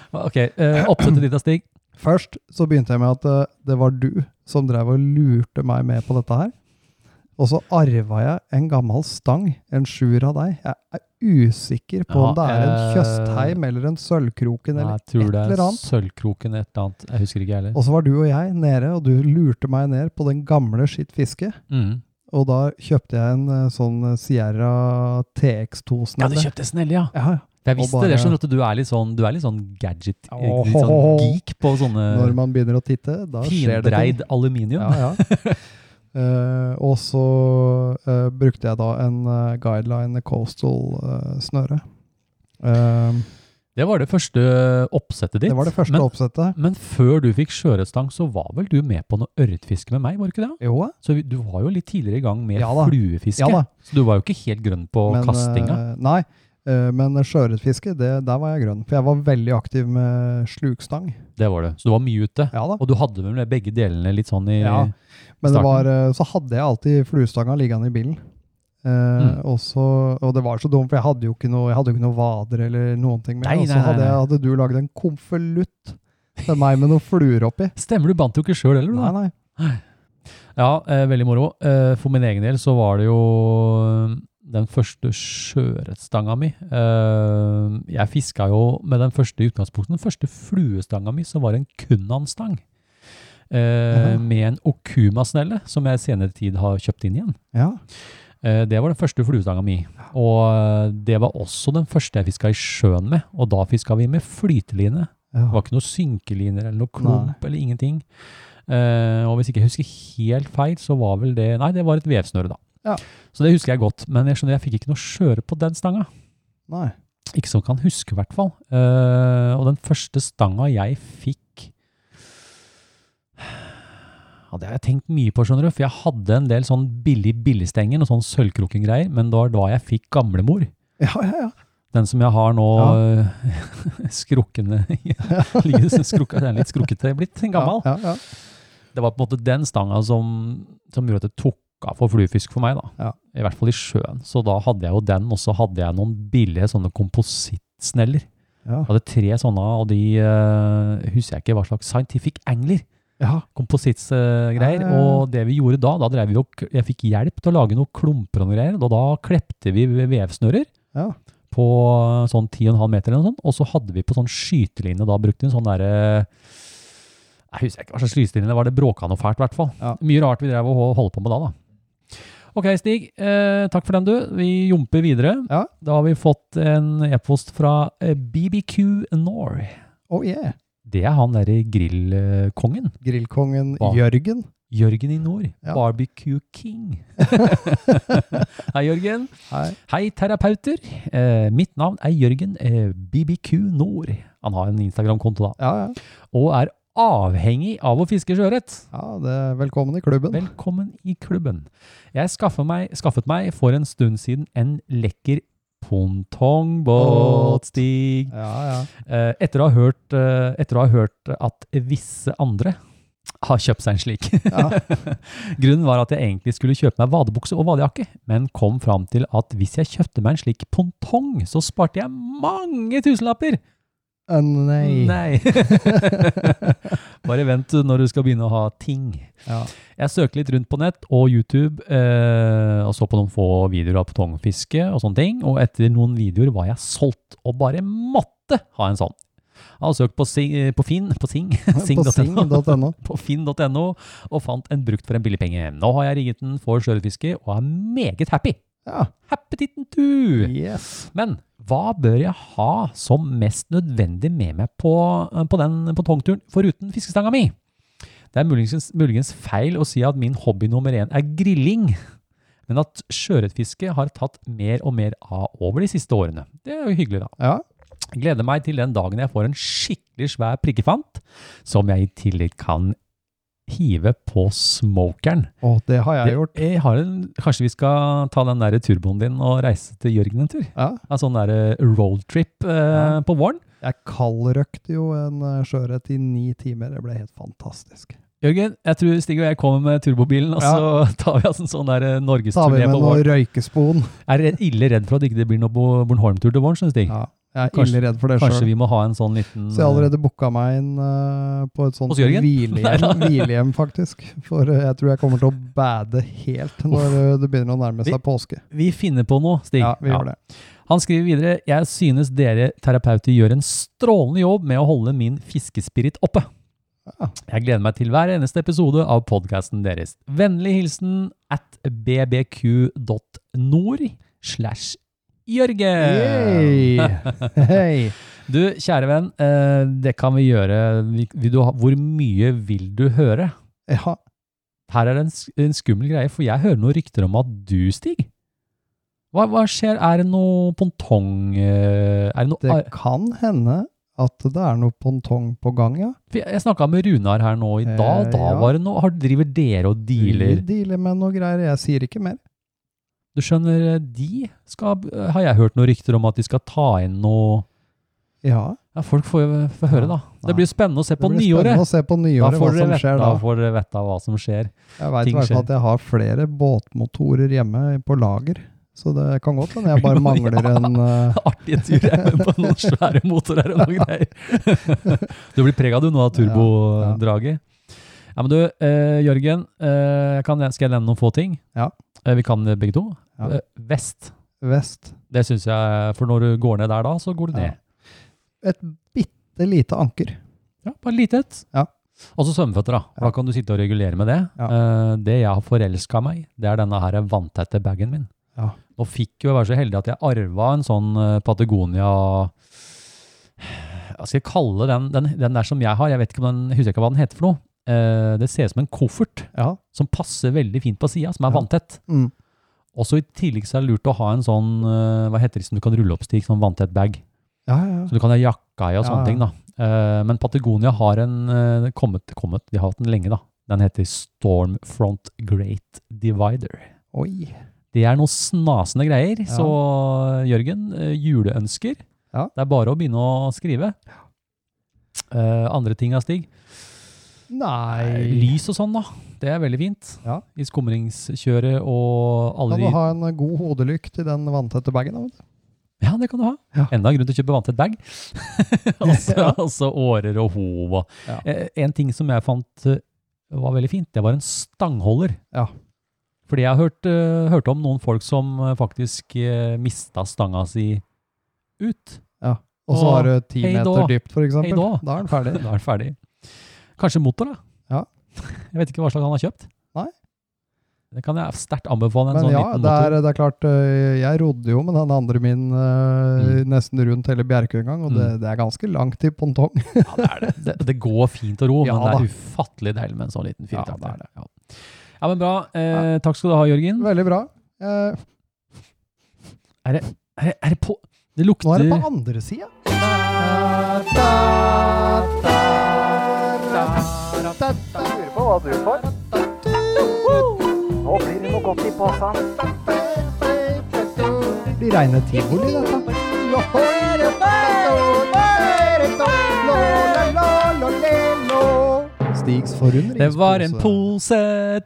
Speaker 5: Ok, eh, oppsettet ditt av Stig.
Speaker 6: Først så begynte jeg med at eh, det var du som drev og lurte meg med på dette her. Og så arva jeg en gammel stang, en sjuer av deg. Jeg er usikker på om det
Speaker 5: Ja,
Speaker 6: er en
Speaker 5: eh,
Speaker 6: Tjøstheim eller en Sølvkroken eller
Speaker 5: Jeg tror
Speaker 6: et
Speaker 5: det
Speaker 6: eller
Speaker 5: er
Speaker 6: annet.
Speaker 5: Sølvkroken et eller annet. Jeg husker ikke, jeg heller.
Speaker 6: Og så var du og jeg nede, og du lurte meg ned på den gamle skitt fiske.
Speaker 5: Mm.
Speaker 6: Og da kjøpte jeg en eh, sånn eh, Sierra TX2
Speaker 5: Ja, du
Speaker 6: snelle.
Speaker 5: kjøpte snelle, ja.
Speaker 6: Ja, ja.
Speaker 5: For Jeg visste
Speaker 6: Og bare-
Speaker 5: det. Jeg skjønner at du er litt sånn, du er litt sånn gadget,
Speaker 6: Åh.
Speaker 5: litt sånn geek på
Speaker 6: Når
Speaker 5: sånne
Speaker 6: man begynner å titte, da skjer det ting.
Speaker 5: findreid aluminium.
Speaker 6: Ja, ja. Eh, og så eh, brukte jeg da en eh, guideline eh, coastal-snøre.
Speaker 5: Det var det første eh, oppsettet ditt.
Speaker 6: Eh, det var det første
Speaker 5: men,
Speaker 6: oppsettet.
Speaker 5: Men før du fikk sjøørretstang, så var vel du med på noe ørretfiske med meg, var du ikke det?
Speaker 6: Jo,
Speaker 5: Så vi- du var jo litt tidligere i gang med
Speaker 6: Ja da.
Speaker 5: fluefiske.
Speaker 6: ja da.
Speaker 5: Så du var jo ikke helt grønn på
Speaker 6: Men,
Speaker 5: kastinga.
Speaker 6: eh, nei, eh, men sjøørretfiske, det- der var jeg grønn. For jeg var veldig aktiv med slukstang.
Speaker 5: Det var det. Så du var mye ute.
Speaker 6: Ja da.
Speaker 5: Og du hadde vel begge delene litt sånn i
Speaker 6: Ja. Men det
Speaker 5: starten.
Speaker 6: var, eh, så hadde jeg alltid fluestanga liggende i bilen. Eh,
Speaker 5: Mm.
Speaker 6: og, så, og det var så dumt, for jeg hadde jo ikke noe, jeg hadde jo ikke noe vader eller noen ting med.
Speaker 5: Nei,
Speaker 6: og
Speaker 5: nei,
Speaker 6: så
Speaker 5: nei,
Speaker 6: hadde, jeg,
Speaker 5: nei.
Speaker 6: hadde du lagd en konvolutt til meg med noen fluer oppi.
Speaker 5: Stemmer, du bandt jo ikke sjøl heller, du. da.
Speaker 6: Nei, nei.
Speaker 5: Ja, eh, veldig moro. Eh, for min egen del så var det jo eh, den første sjøørretstanga mi. Eh, jeg fiska jo med den første i utgangspunktet. Den første fluestanga mi som var en kunanstang. Eh,
Speaker 6: Ja.
Speaker 5: Med en okuma-snelle, som jeg i senere tid har kjøpt inn igjen.
Speaker 6: Ja.
Speaker 5: Eh, det var den første fluestanga mi. Og eh, det var også den første jeg fiska i sjøen med. Og da fiska vi med flyteline.
Speaker 6: ja.
Speaker 5: Det var ikke noen synkeliner eller noe klump eller ingenting. Eh, og hvis ikke jeg husker helt feil, så var vel det Nei, det var et vevsnøre, da.
Speaker 6: Ja.
Speaker 5: Så det husker jeg godt. Men jeg skjønner jeg fikk ikke noe skjøre på den stanga.
Speaker 6: Nei.
Speaker 5: Ikke som kan huske, i hvert fall. Eh, og den første stanga jeg fikk ja, Det har jeg tenkt mye på, skjønner du. For jeg hadde en del sånn billig billigstenger og sånn sølvkroken-greier, men det var da jeg fikk gamlemor.
Speaker 6: Ja, ja, ja.
Speaker 5: Den som jeg har nå eh, skrukkende ligger skrukka, Den er litt skrukkete blitt, gammel.
Speaker 6: Ja, ja, ja.
Speaker 5: Det var på en måte den stanga som, som gjorde at det tok av for fluefisk for meg. da.
Speaker 6: Ja.
Speaker 5: I hvert fall i sjøen. Så da hadde jeg jo den, og så hadde jeg noen billige sånne komposittsneller.
Speaker 6: Ja.
Speaker 5: Jeg hadde tre sånne, og de eh, husker jeg ikke hva slags Scientific Angler.
Speaker 6: Ja.
Speaker 5: Komposittsgreier.
Speaker 6: Ja, ja, ja.
Speaker 5: Og det vi gjorde da, da drev vi og, jeg fikk hjelp til å lage noen klumper og noen greier. Og da klepte vi vevsnører
Speaker 6: Ja.
Speaker 5: på sånn 10,5 meter eller noe sånt. Og så hadde vi på sånn skytelinje, da brukte vi en sånn derre Jeg husker ikke hva slags skytelinje det var, det bråka noe fælt i hvert fall.
Speaker 6: Ja.
Speaker 5: Mye rart vi drev og ho- holdt på med da, da. Ok, Stig. Eh, takk for den, du. Vi jumper videre.
Speaker 6: Ja.
Speaker 5: Da har vi fått en e-post fra eh, BBQ Nor.
Speaker 6: Oh yeah.
Speaker 5: Det er han derre grillkongen.
Speaker 6: Grillkongen
Speaker 5: Hva?
Speaker 6: Jørgen.
Speaker 5: Jørgen i nord.
Speaker 6: Ja.
Speaker 5: Barbecue King. Hei, Jørgen.
Speaker 6: Hei.
Speaker 5: Hei, terapeuter. Eh, mitt navn er Jørgen eh, BBQ Nord. Han har en Instagram-konto, da.
Speaker 6: Ja, ja.
Speaker 5: Og er avhengig av å fiske sjøørret.
Speaker 6: ja det er velkommen i klubben.
Speaker 5: Velkommen i klubben. Jeg skaffet meg, skaffet meg for en stund siden en lekker
Speaker 6: Båt.
Speaker 5: pongtongbåt, Stig.
Speaker 6: Ja, ja.
Speaker 5: Eh, etter, å ha hørt, eh, etter å ha hørt at visse andre har kjøpt seg en slik.
Speaker 6: Ja.
Speaker 5: Grunnen var at jeg egentlig skulle kjøpe meg vadebukse og vadejakke, men kom fram til at hvis jeg kjøpte meg en slik pontong, så sparte jeg mange tusenlapper!
Speaker 6: Eh, Nei.
Speaker 5: Bare vent du, når du skal begynne å ha ting.
Speaker 6: Ja.
Speaker 5: Jeg søkte litt rundt på nett og YouTube, eh, og så på noen få videoer av potongfiske og sånne ting, og etter noen videoer var jeg solgt, og bare måtte ha en sånn. Jeg har søkt på, Sing, eh, på Finn, på Sing, Sing.no.
Speaker 6: På sing.no.
Speaker 5: på finn.no, og fant en brukt for en billig penge. Nå har jeg rigget den for sjøørretfiske, og er meget happy.
Speaker 6: Ja.
Speaker 5: Appetitten tu!
Speaker 6: Yes.
Speaker 5: Men hva bør jeg ha som mest nødvendig med meg på, eh, på den på tongturen, foruten fiskestanga mi? Det er muligens, muligens feil å si at min hobby nummer én er grilling, men at sjøørretfiske har tatt mer og mer av over de siste årene. Det er jo hyggelig, da.
Speaker 6: Ja.
Speaker 5: Gleder meg til den dagen jeg får en skikkelig svær prikkefant, som jeg i tillegg kan hive på smokeren.
Speaker 6: Og det har jeg gjort.
Speaker 5: Jeg har en, kanskje vi skal ta den der turboen din og reise til Jørgen en tur?
Speaker 6: Ja.
Speaker 5: En sånn der eh, roadtrip eh,
Speaker 6: Ja.
Speaker 5: på våren.
Speaker 6: Jeg kaldrøkte jo en eh, sjøørret i ni timer. Det ble helt fantastisk.
Speaker 5: Jørgen, jeg tror Stig og jeg kommer med turbobilen, og
Speaker 6: Ja.
Speaker 5: så tar vi altså en sånn der eh,
Speaker 6: Tar vi
Speaker 5: norgesturné
Speaker 6: med
Speaker 5: på
Speaker 6: noe
Speaker 5: våren.
Speaker 6: røykespon?
Speaker 5: Jeg er redd- ille redd for at det ikke blir noe Bo- Bornholm-tur til våren, synes Stig.
Speaker 6: Ja. Jeg er
Speaker 5: Kanskje-
Speaker 6: ille redd for det
Speaker 5: Kanskje
Speaker 6: sjøl.
Speaker 5: vi må ha en sånn liten
Speaker 6: Så jeg har allerede booka meg inn eh, på et sånt
Speaker 5: Hos Jørgen?
Speaker 6: hvilehjem, hvilehjem, faktisk. For eh, jeg tror jeg kommer til å bade helt når eh, det begynner å nærme seg påske.
Speaker 5: eh, Vi finner på noe, Stig.
Speaker 6: Ja, vi gjør det.
Speaker 5: Han skriver videre Jeg synes dere terapeuter gjør en strålende jobb med å holde min fiskespirit oppe.
Speaker 6: Ja.
Speaker 5: Jeg gleder meg til hver eneste episode av podkasten deres. Vennlig hilsen at bbq.nord slash Eh. Jørgen.
Speaker 6: Yay! Hei!
Speaker 5: Du, kjære venn, eh, det kan vi gjøre. Vi- Vil du ha, hvor mye vil du høre?
Speaker 6: Ja,
Speaker 5: Her er det en, sk- en skummel greie, for jeg hører noen rykter om at du, Stig Hva, hva skjer? Er det noe pontong eh, Er det noe
Speaker 6: det kan hende at det er noe pontong på gang, ja.
Speaker 5: For Jeg jeg snakka med Runar her nå i dag.
Speaker 6: Eh,
Speaker 5: Da
Speaker 6: ja. Mm.
Speaker 5: var det noe har, Driver dere og
Speaker 6: Vi
Speaker 5: dealer?
Speaker 6: dealer med noe greier. Jeg sier ikke mer.
Speaker 5: Du skjønner, eh, de skal eh, Har jeg hørt noen rykter om at de skal ta inn noe
Speaker 6: Ja,
Speaker 5: Ja, folk får jo få høre, da.
Speaker 6: Nei.
Speaker 5: Det blir spennende å se
Speaker 6: det
Speaker 5: på
Speaker 6: blir spennende
Speaker 5: nyåret.
Speaker 6: å se på
Speaker 5: Da
Speaker 6: nyåret hva
Speaker 5: får dere
Speaker 6: som
Speaker 5: vite-
Speaker 6: skjer da.
Speaker 5: da får dere vite hva som skjer.
Speaker 6: Jeg veit i
Speaker 5: ting
Speaker 6: hvert fall
Speaker 5: skjer.
Speaker 6: at jeg har flere båtmotorer hjemme på lager. Så det kan godt hende jeg bare mangler en eh,
Speaker 5: Artige turer jeg er med på noen svære motorer og noen greier. Du blir prega du nå av turbodraget. Ja, men du, eh, Jørgen, eh, jeg kan, skal jeg nevne noen få ting?
Speaker 6: Ja.
Speaker 5: Eh, vi kan begge to.
Speaker 6: Ja.
Speaker 5: Eh, vest.
Speaker 6: vest.
Speaker 5: Det syns jeg, for når du går ned der da, så går du
Speaker 6: Ja.
Speaker 5: ned.
Speaker 6: Et bitte lite anker.
Speaker 5: Ja, bare lite et.
Speaker 6: Ja.
Speaker 5: Og så svømmeføtter, da. For
Speaker 6: Ja.
Speaker 5: Da kan du sitte og regulere med det. Eh, det jeg har forelska meg i, det er denne her vanntette bagen min.
Speaker 6: Ja.
Speaker 5: Nå fikk jo jeg være så heldig at jeg arva en sånn eh, Patagonia Hva skal jeg kalle den, den? Den der som jeg har, jeg vet ikke om den, husker jeg ikke hva den heter for noe. Eh, det ser ut som en koffert
Speaker 6: Ja.
Speaker 5: som passer veldig fint på sida, som er
Speaker 6: Ja.
Speaker 5: vanntett.
Speaker 6: Mm.
Speaker 5: Også i tillegg så er det lurt å ha en sånn eh, hva heter det, som du kan rulle opp, Stig, sånn vanntett bag.
Speaker 6: Ja, ja, ja.
Speaker 5: Så du kan ha jakka i og
Speaker 6: Ja,
Speaker 5: sånne
Speaker 6: ja.
Speaker 5: ting, da. Eh, men Patagonia har en eh, kommet, kommet, de har hatt den lenge, da. Den heter Stormfront Great Divider.
Speaker 6: Oi.
Speaker 5: Det er noen snasende greier, så Jørgen, eh, juleønsker.
Speaker 6: Ja.
Speaker 5: Det er bare å begynne å skrive. Eh, andre ting, da, Stig?
Speaker 6: Nei
Speaker 5: Lys og sånn, da. Det er veldig fint.
Speaker 6: Ja.
Speaker 5: I skumringskjøret og alle
Speaker 6: Kan du
Speaker 5: de
Speaker 6: ha en god hodelykt i den vanntette bagen? da, vet du?
Speaker 5: Ja, det kan du ha.
Speaker 6: Ja.
Speaker 5: Enda en grunn til å kjøpe vanntett bag. altså, altså årer og hov. og-
Speaker 6: Ja.
Speaker 5: Eh, en ting som jeg fant eh, var veldig fint, det var en stangholder.
Speaker 6: Ja.
Speaker 5: Fordi jeg har hørt, eh, hørt om noen folk som eh, faktisk uh, mista stanga si ut.
Speaker 6: Og så
Speaker 5: Og
Speaker 6: har du ti
Speaker 5: hei
Speaker 6: meter
Speaker 5: da.
Speaker 6: dypt, for eksempel.
Speaker 5: da.
Speaker 6: Da er den ferdig.
Speaker 5: Da er den ferdig. Kanskje motor, da.
Speaker 6: Ja.
Speaker 5: Jeg vet ikke hva slags han har kjøpt.
Speaker 6: Nei.
Speaker 5: Det kan jeg sterkt anbefale. en
Speaker 6: Men
Speaker 5: sånn
Speaker 6: ja,
Speaker 5: liten
Speaker 6: det
Speaker 5: motor.
Speaker 6: er, det er klart øh, Jeg rodde jo med den andre min
Speaker 5: Mm.
Speaker 6: øh, nesten rundt hele Bjerkøy en gang, og det, det er ganske langt til pontong.
Speaker 5: Ja, det er det. Det, det går fint og ro,
Speaker 6: Ja,
Speaker 5: men det
Speaker 6: da.
Speaker 5: er ufattelig deilig med en sånn liten
Speaker 6: Ja,
Speaker 5: firkant.
Speaker 6: det er
Speaker 5: Ja, ja. men bra. Eh, takk skal du ha, Jørgen.
Speaker 6: Veldig bra. Eh,
Speaker 5: Er, det- er det på Det
Speaker 6: nå er
Speaker 5: lukter
Speaker 6: det på andre sida.
Speaker 4: Lurer på hva du får. Nå blir det noe godt i posen.
Speaker 6: Blir reine tivoli, dette. Stigs forundringspose.
Speaker 5: Det var en pose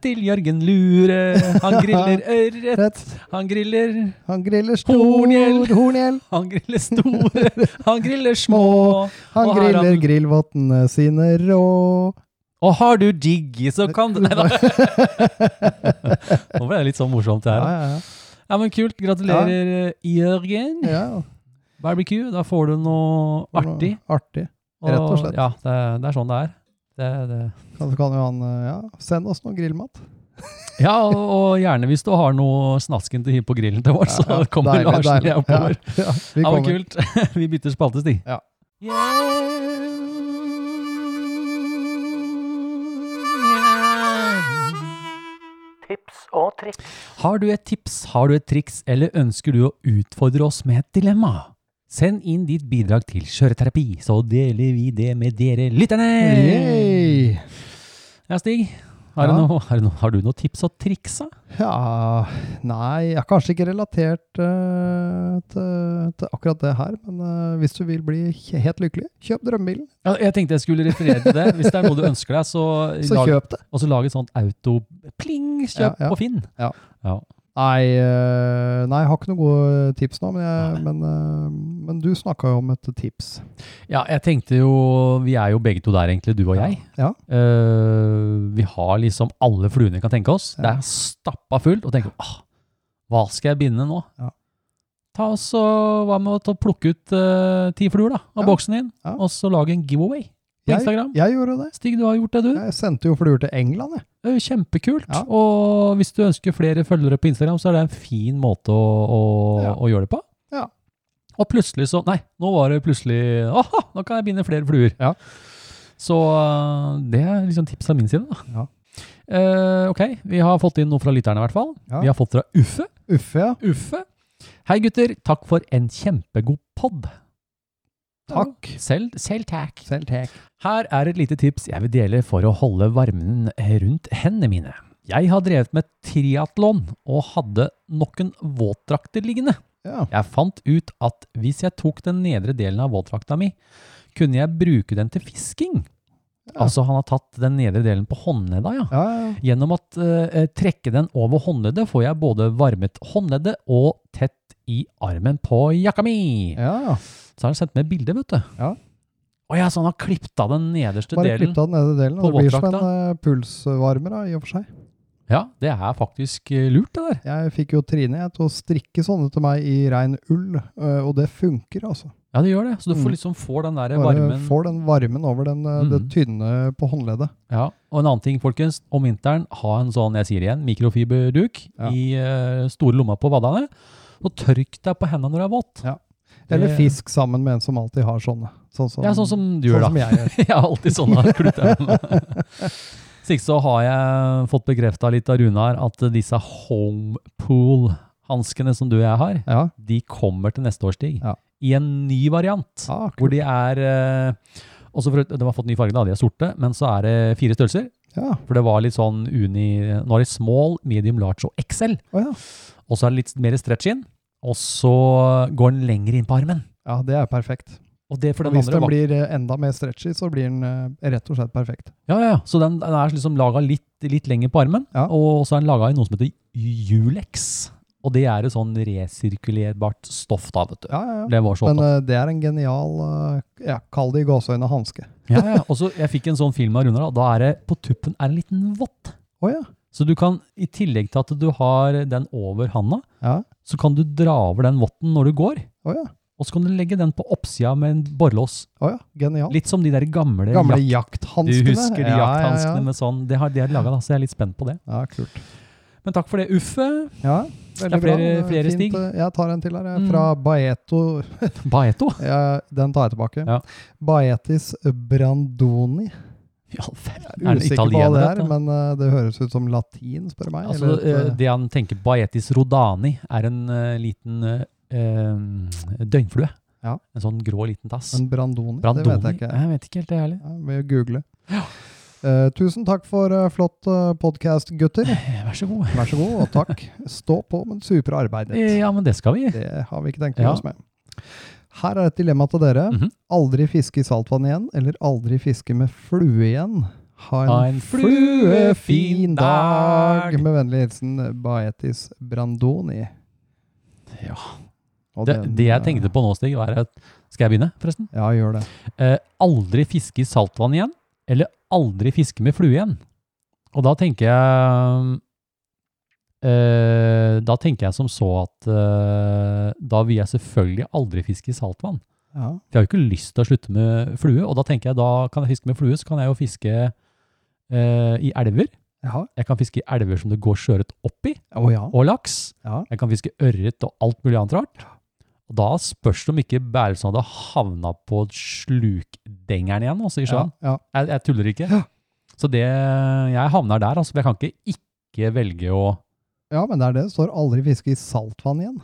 Speaker 5: til Jørgen Lure. Han griller ørret.
Speaker 6: Rett.
Speaker 5: Han griller
Speaker 6: Han griller stor
Speaker 5: Horngjell.
Speaker 6: horngjell.
Speaker 5: Han griller store, han griller små.
Speaker 6: Små. Han
Speaker 5: Og har
Speaker 6: griller
Speaker 5: han-
Speaker 6: grillvottene sine rå.
Speaker 5: Og har du Jiggy, så kan du Nei da. Nå ble det litt sånn morsomt, det
Speaker 6: Ja,
Speaker 5: her.
Speaker 6: ja,
Speaker 5: Ja, men kult. Gratulerer, eh, Jørgen.
Speaker 6: ja. ja.
Speaker 5: Barbecue, da får du noe
Speaker 6: For noe
Speaker 5: artig.
Speaker 6: Artig. Rett og slett.
Speaker 5: Ja, det, er- det er sånn det er. Det, det.
Speaker 6: Ja, Så kan jo han eh, ja, sende oss noe grillmat.
Speaker 5: Ja, og, og gjerne hvis du har noe snasken til på grillen til vår, så kommer
Speaker 6: Deilig,
Speaker 5: Larsen og
Speaker 6: deilig.
Speaker 5: jeg oppover.
Speaker 6: Ja, ja, vi
Speaker 5: Det var
Speaker 6: kommer.
Speaker 5: kult. Vi bytter spalte, Stig.
Speaker 6: Ja.
Speaker 2: Tips og triks.
Speaker 5: Har du et tips, har du et triks, eller ønsker du å utfordre oss med et dilemma? Send inn ditt bidrag til kjøreterapi, så deler vi det med dere lytterne!
Speaker 6: Yay!
Speaker 5: Ja, Stig. Har,
Speaker 6: Ja.
Speaker 5: du noe, har, du noe, har du noe tips og triks, da?
Speaker 6: Ja Nei, jeg er kanskje ikke relatert eh, til, til akkurat det her, men eh, hvis du vil bli he- helt lykkelig, kjøp drømmebilen,
Speaker 5: Ja, jeg tenkte jeg skulle referere til det. Hvis det er noe du ønsker deg, så,
Speaker 6: så
Speaker 5: lag,
Speaker 6: kjøp det.
Speaker 5: og så lag et sånt auto-pling, kjøp
Speaker 6: Ja, ja.
Speaker 5: på Finn.
Speaker 6: Ja. Nei, eh, nei, jeg har ikke noen gode tips nå, men, jeg, men, eh, men du snakka jo om et tips.
Speaker 5: Ja, jeg tenkte jo Vi er jo begge to der, egentlig, du og jeg.
Speaker 6: Ja.
Speaker 5: Eh, vi har liksom alle fluene vi kan tenke oss. Det er
Speaker 6: Ja.
Speaker 5: stappa fullt. Og tenker ah, hva skal jeg binde nå?
Speaker 6: Ja.
Speaker 5: Ta oss og Hva med å ta- plukke ut eh, ti fluer da, av
Speaker 6: Ja.
Speaker 5: boksen din,
Speaker 6: Ja.
Speaker 5: og så lage en giveaway på
Speaker 6: Jeg,
Speaker 5: Instagram?
Speaker 6: jeg gjorde det.
Speaker 5: Stig, du har gjort det, du.
Speaker 6: Jeg sendte jo fluer til England, jeg.
Speaker 5: Det er jo Kjempekult.
Speaker 6: Ja.
Speaker 5: Og hvis du ønsker flere følgere på Instagram, så er det en fin måte å, å,
Speaker 6: Ja.
Speaker 5: å gjøre det på.
Speaker 6: Ja.
Speaker 5: Og plutselig så Nei, nå var det plutselig Aha, nå kan jeg binde flere fluer.
Speaker 6: Ja.
Speaker 5: Så øh, det er liksom tips fra min side, da.
Speaker 6: Ja.
Speaker 5: Eh, ok, vi har fått inn noe fra lytterne, i hvert fall.
Speaker 6: Ja.
Speaker 5: Vi har fått fra Uffe.
Speaker 6: Uffe, ja.
Speaker 5: Uffe. Hei, gutter. Takk for en kjempegod pod.
Speaker 6: Takk.
Speaker 5: Selv, selv takk.
Speaker 6: Selv tek.
Speaker 5: Her er et lite tips jeg vil dele for å holde varmen rundt hendene mine. Jeg har drevet med triatlon og hadde noen våtdrakter liggende.
Speaker 6: Ja.
Speaker 5: Jeg fant ut at hvis jeg tok den nedre delen av våtdrakta mi, kunne jeg bruke den til fisking.
Speaker 6: Ja.
Speaker 5: Altså han har tatt den nedre delen på håndledda, ja.
Speaker 6: Ja, ja.
Speaker 5: Gjennom å trekke den over håndleddet får jeg både varmet håndleddet og tett i armen på jakka mi.
Speaker 6: ja. ja.
Speaker 5: Så har han sendt med bilde, vet du.
Speaker 6: Ja.
Speaker 5: Å ja, så han har klippet av den nederste
Speaker 6: Bare
Speaker 5: delen.
Speaker 6: klipp av den nede delen.
Speaker 5: på
Speaker 6: og Det blir som en
Speaker 5: våtdrakta.
Speaker 6: eh, pulsvarmer, da, i og for seg.
Speaker 5: Ja, det er faktisk eh, lurt, det der.
Speaker 6: Jeg fikk jo Trine jeg, til å strikke sånne til meg i rein ull, eh, og det funker, altså.
Speaker 5: Ja, det gjør det. Så du
Speaker 6: Mm.
Speaker 5: får liksom får den der
Speaker 6: Bare
Speaker 5: varmen.
Speaker 6: får den varmen over den, eh, det
Speaker 5: Mhm.
Speaker 6: tynne på håndleddet.
Speaker 5: Ja. Og en annen ting, folkens. Om vinteren, ha en sånn, jeg sier igjen, mikrofiberduk
Speaker 6: Ja.
Speaker 5: i eh, store lomma på vadene. Og tørk deg på hendene når det er vått.
Speaker 6: Ja. Eller
Speaker 5: Det-
Speaker 6: fisk sammen med en som alltid har sånne. Sånn som,
Speaker 5: Ja, sånn som du
Speaker 6: sånn
Speaker 5: gjør,
Speaker 6: som
Speaker 5: da.
Speaker 6: jeg gjør.
Speaker 5: Jeg har alltid sånne klutter. Slik så har jeg fått bekrefta litt av Runar at disse homepool-hanskene som du og jeg har,
Speaker 6: Ja.
Speaker 5: de kommer til neste års stig.
Speaker 6: Ja.
Speaker 5: I en ny variant.
Speaker 6: Ja,
Speaker 5: Hvor de er eh, også for, De har fått ny farge, da. De er sorte. Men så er det fire størrelser.
Speaker 6: ja.
Speaker 5: For det var litt sånn uni Nå er det small, medium, large og XL.
Speaker 6: Å ja.
Speaker 5: Og så er det litt mer stretch inn. Og så går den lenger inn på armen.
Speaker 6: ja, det er perfekt.
Speaker 5: Og det for
Speaker 6: Og
Speaker 5: den
Speaker 6: hvis
Speaker 5: andre
Speaker 6: den
Speaker 5: var
Speaker 6: blir eh, enda mer stretchy, så blir den eh, rett og slett perfekt.
Speaker 5: Ja, ja, ja. Så den, den er liksom laga litt, litt lenger på armen.
Speaker 6: Ja.
Speaker 5: Og så er den laga i noe som heter Julex. Og det er et sånn resirkulerbart stoff, da, vet du.
Speaker 6: Ja, ja, ja.
Speaker 5: Det var så
Speaker 6: Men eh, det er en genial eh, ja, Kall det i gåseøyne hanske.
Speaker 5: Ja, ja. Og så jeg fikk en sånn film av Runar. da. Da er det på tuppen er det en liten vott.
Speaker 6: Å ja.
Speaker 5: Så du kan, i tillegg til at du har den over handa,
Speaker 6: Ja.
Speaker 5: så kan du dra over den votten når du går,
Speaker 6: Å ja.
Speaker 5: og så kan du legge den på oppsida med en borrelås.
Speaker 6: Å ja. Genial.
Speaker 5: Litt som de der gamle,
Speaker 6: Gamle
Speaker 5: jak-
Speaker 6: jakthanskene.
Speaker 5: Du husker de
Speaker 6: Ja, ja, ja.
Speaker 5: jakthanskene med sånn. Det har de laga, da, så jeg er litt spent på det.
Speaker 6: Ja, kult.
Speaker 5: Men takk for det, Uffe.
Speaker 6: Ja, veldig
Speaker 5: flere-
Speaker 6: bra.
Speaker 5: flere
Speaker 6: Fint. eh,
Speaker 5: stig.
Speaker 6: Jeg tar en til her. jeg.
Speaker 5: Mm.
Speaker 6: Fra Baeto
Speaker 5: Baeto.
Speaker 6: Ja, den tar jeg tilbake.
Speaker 5: Ja.
Speaker 6: Baetis Brandoni.
Speaker 5: Ja, er
Speaker 6: Jeg
Speaker 5: det
Speaker 6: er usikker på hva det
Speaker 5: italiener,
Speaker 6: er,
Speaker 5: dette?
Speaker 6: men eh, det høres ut som latin, spør du meg.
Speaker 5: Altså,
Speaker 6: eller et,
Speaker 5: eh, det han tenker Baetis rodani er en eh, liten eh, eh, døgnflue.
Speaker 6: Ja.
Speaker 5: En sånn grå liten tass.
Speaker 6: eh, en brandoni,
Speaker 5: Brandoni?
Speaker 6: det vet jeg ikke.
Speaker 5: Jeg vet ikke helt, det heller.
Speaker 6: Ja, vi googler. Eh, tusen takk for eh, flott uh, podkast, gutter.
Speaker 5: Eh, Vær så god. Eh,
Speaker 6: Vær så god, og takk. Stå på med det supre arbeidet.
Speaker 5: Ja, men det skal vi.
Speaker 6: Det har vi ikke tenkt å
Speaker 5: Ja.
Speaker 6: gjøre oss med. Her er et dilemma til dere.
Speaker 5: Mhm.
Speaker 6: Aldri fiske i saltvann igjen, eller aldri fiske med flue igjen. Ha en,
Speaker 5: Ha en
Speaker 6: fluefin
Speaker 5: fluefin dag.
Speaker 6: Med vennlig hilsen Baetis Brandoni.
Speaker 5: Ja.
Speaker 6: Og
Speaker 5: Det,
Speaker 6: den,
Speaker 5: det jeg
Speaker 6: eh,
Speaker 5: tenkte på nå, Stig, var at Skal jeg begynne, forresten?
Speaker 6: Ja, gjør det.
Speaker 5: Eh, aldri fiske i saltvann igjen, eller aldri fiske med flue igjen. Og da tenker jeg eh, Da tenker jeg som så at eh, da vil jeg selvfølgelig aldri fiske i saltvann.
Speaker 6: Ja.
Speaker 5: For jeg har jo ikke lyst til å slutte med flue, og da tenker jeg da kan jeg fiske med flue, så kan jeg jo fiske eh, i elver.
Speaker 6: Jaha.
Speaker 5: Jeg kan fiske i elver som det går sjøørret opp i,
Speaker 6: Å ja.
Speaker 5: og laks.
Speaker 6: ja.
Speaker 5: Jeg kan fiske ørret og alt mulig annet rart. Og da spørs det om ikke Bærelsen hadde havna på slukdengeren igjen også i
Speaker 6: ja,
Speaker 5: sjøen.
Speaker 6: ja.
Speaker 5: Jeg, jeg tuller ikke.
Speaker 6: Ja.
Speaker 5: Så det, jeg havner der, altså. for Jeg kan ikke ikke velge å
Speaker 6: ja, men det er det. Det står aldri fiske i saltvann igjen.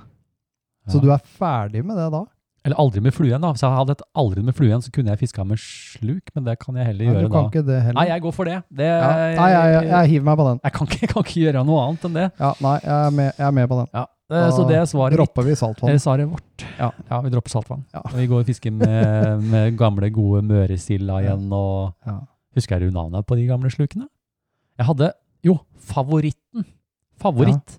Speaker 6: Så
Speaker 5: Ja.
Speaker 6: du er ferdig med det da?
Speaker 5: Eller aldri med flue igjen, da. Hvis jeg hadde et aldri med flue igjen, så kunne jeg fiska med sluk, men det kan jeg heller
Speaker 6: Nei,
Speaker 5: gjøre
Speaker 6: du kan
Speaker 5: da.
Speaker 6: ikke det heller.
Speaker 5: Nei, jeg går for det. det
Speaker 6: ja. nei jeg, jeg, jeg hiver meg på den.
Speaker 5: jeg kan, ikke, jeg kan ikke gjøre noe annet enn det.
Speaker 6: Ja, nei, jeg er med, jeg er med på den.
Speaker 5: Ja. eh, Så
Speaker 6: Da
Speaker 5: det er svaret mitt.
Speaker 6: Dropper vi
Speaker 5: Eller
Speaker 6: saltvann.
Speaker 5: svaret vårt.
Speaker 6: Ja.
Speaker 5: vi dropper saltvann.
Speaker 6: Ja.
Speaker 5: Og vi går og fisker med, med gamle, gode Møresilda
Speaker 6: Ja.
Speaker 5: igjen. Og
Speaker 6: Ja.
Speaker 5: husker du navnet på de gamle slukene? Jeg hadde jo favoritten. Favoritt.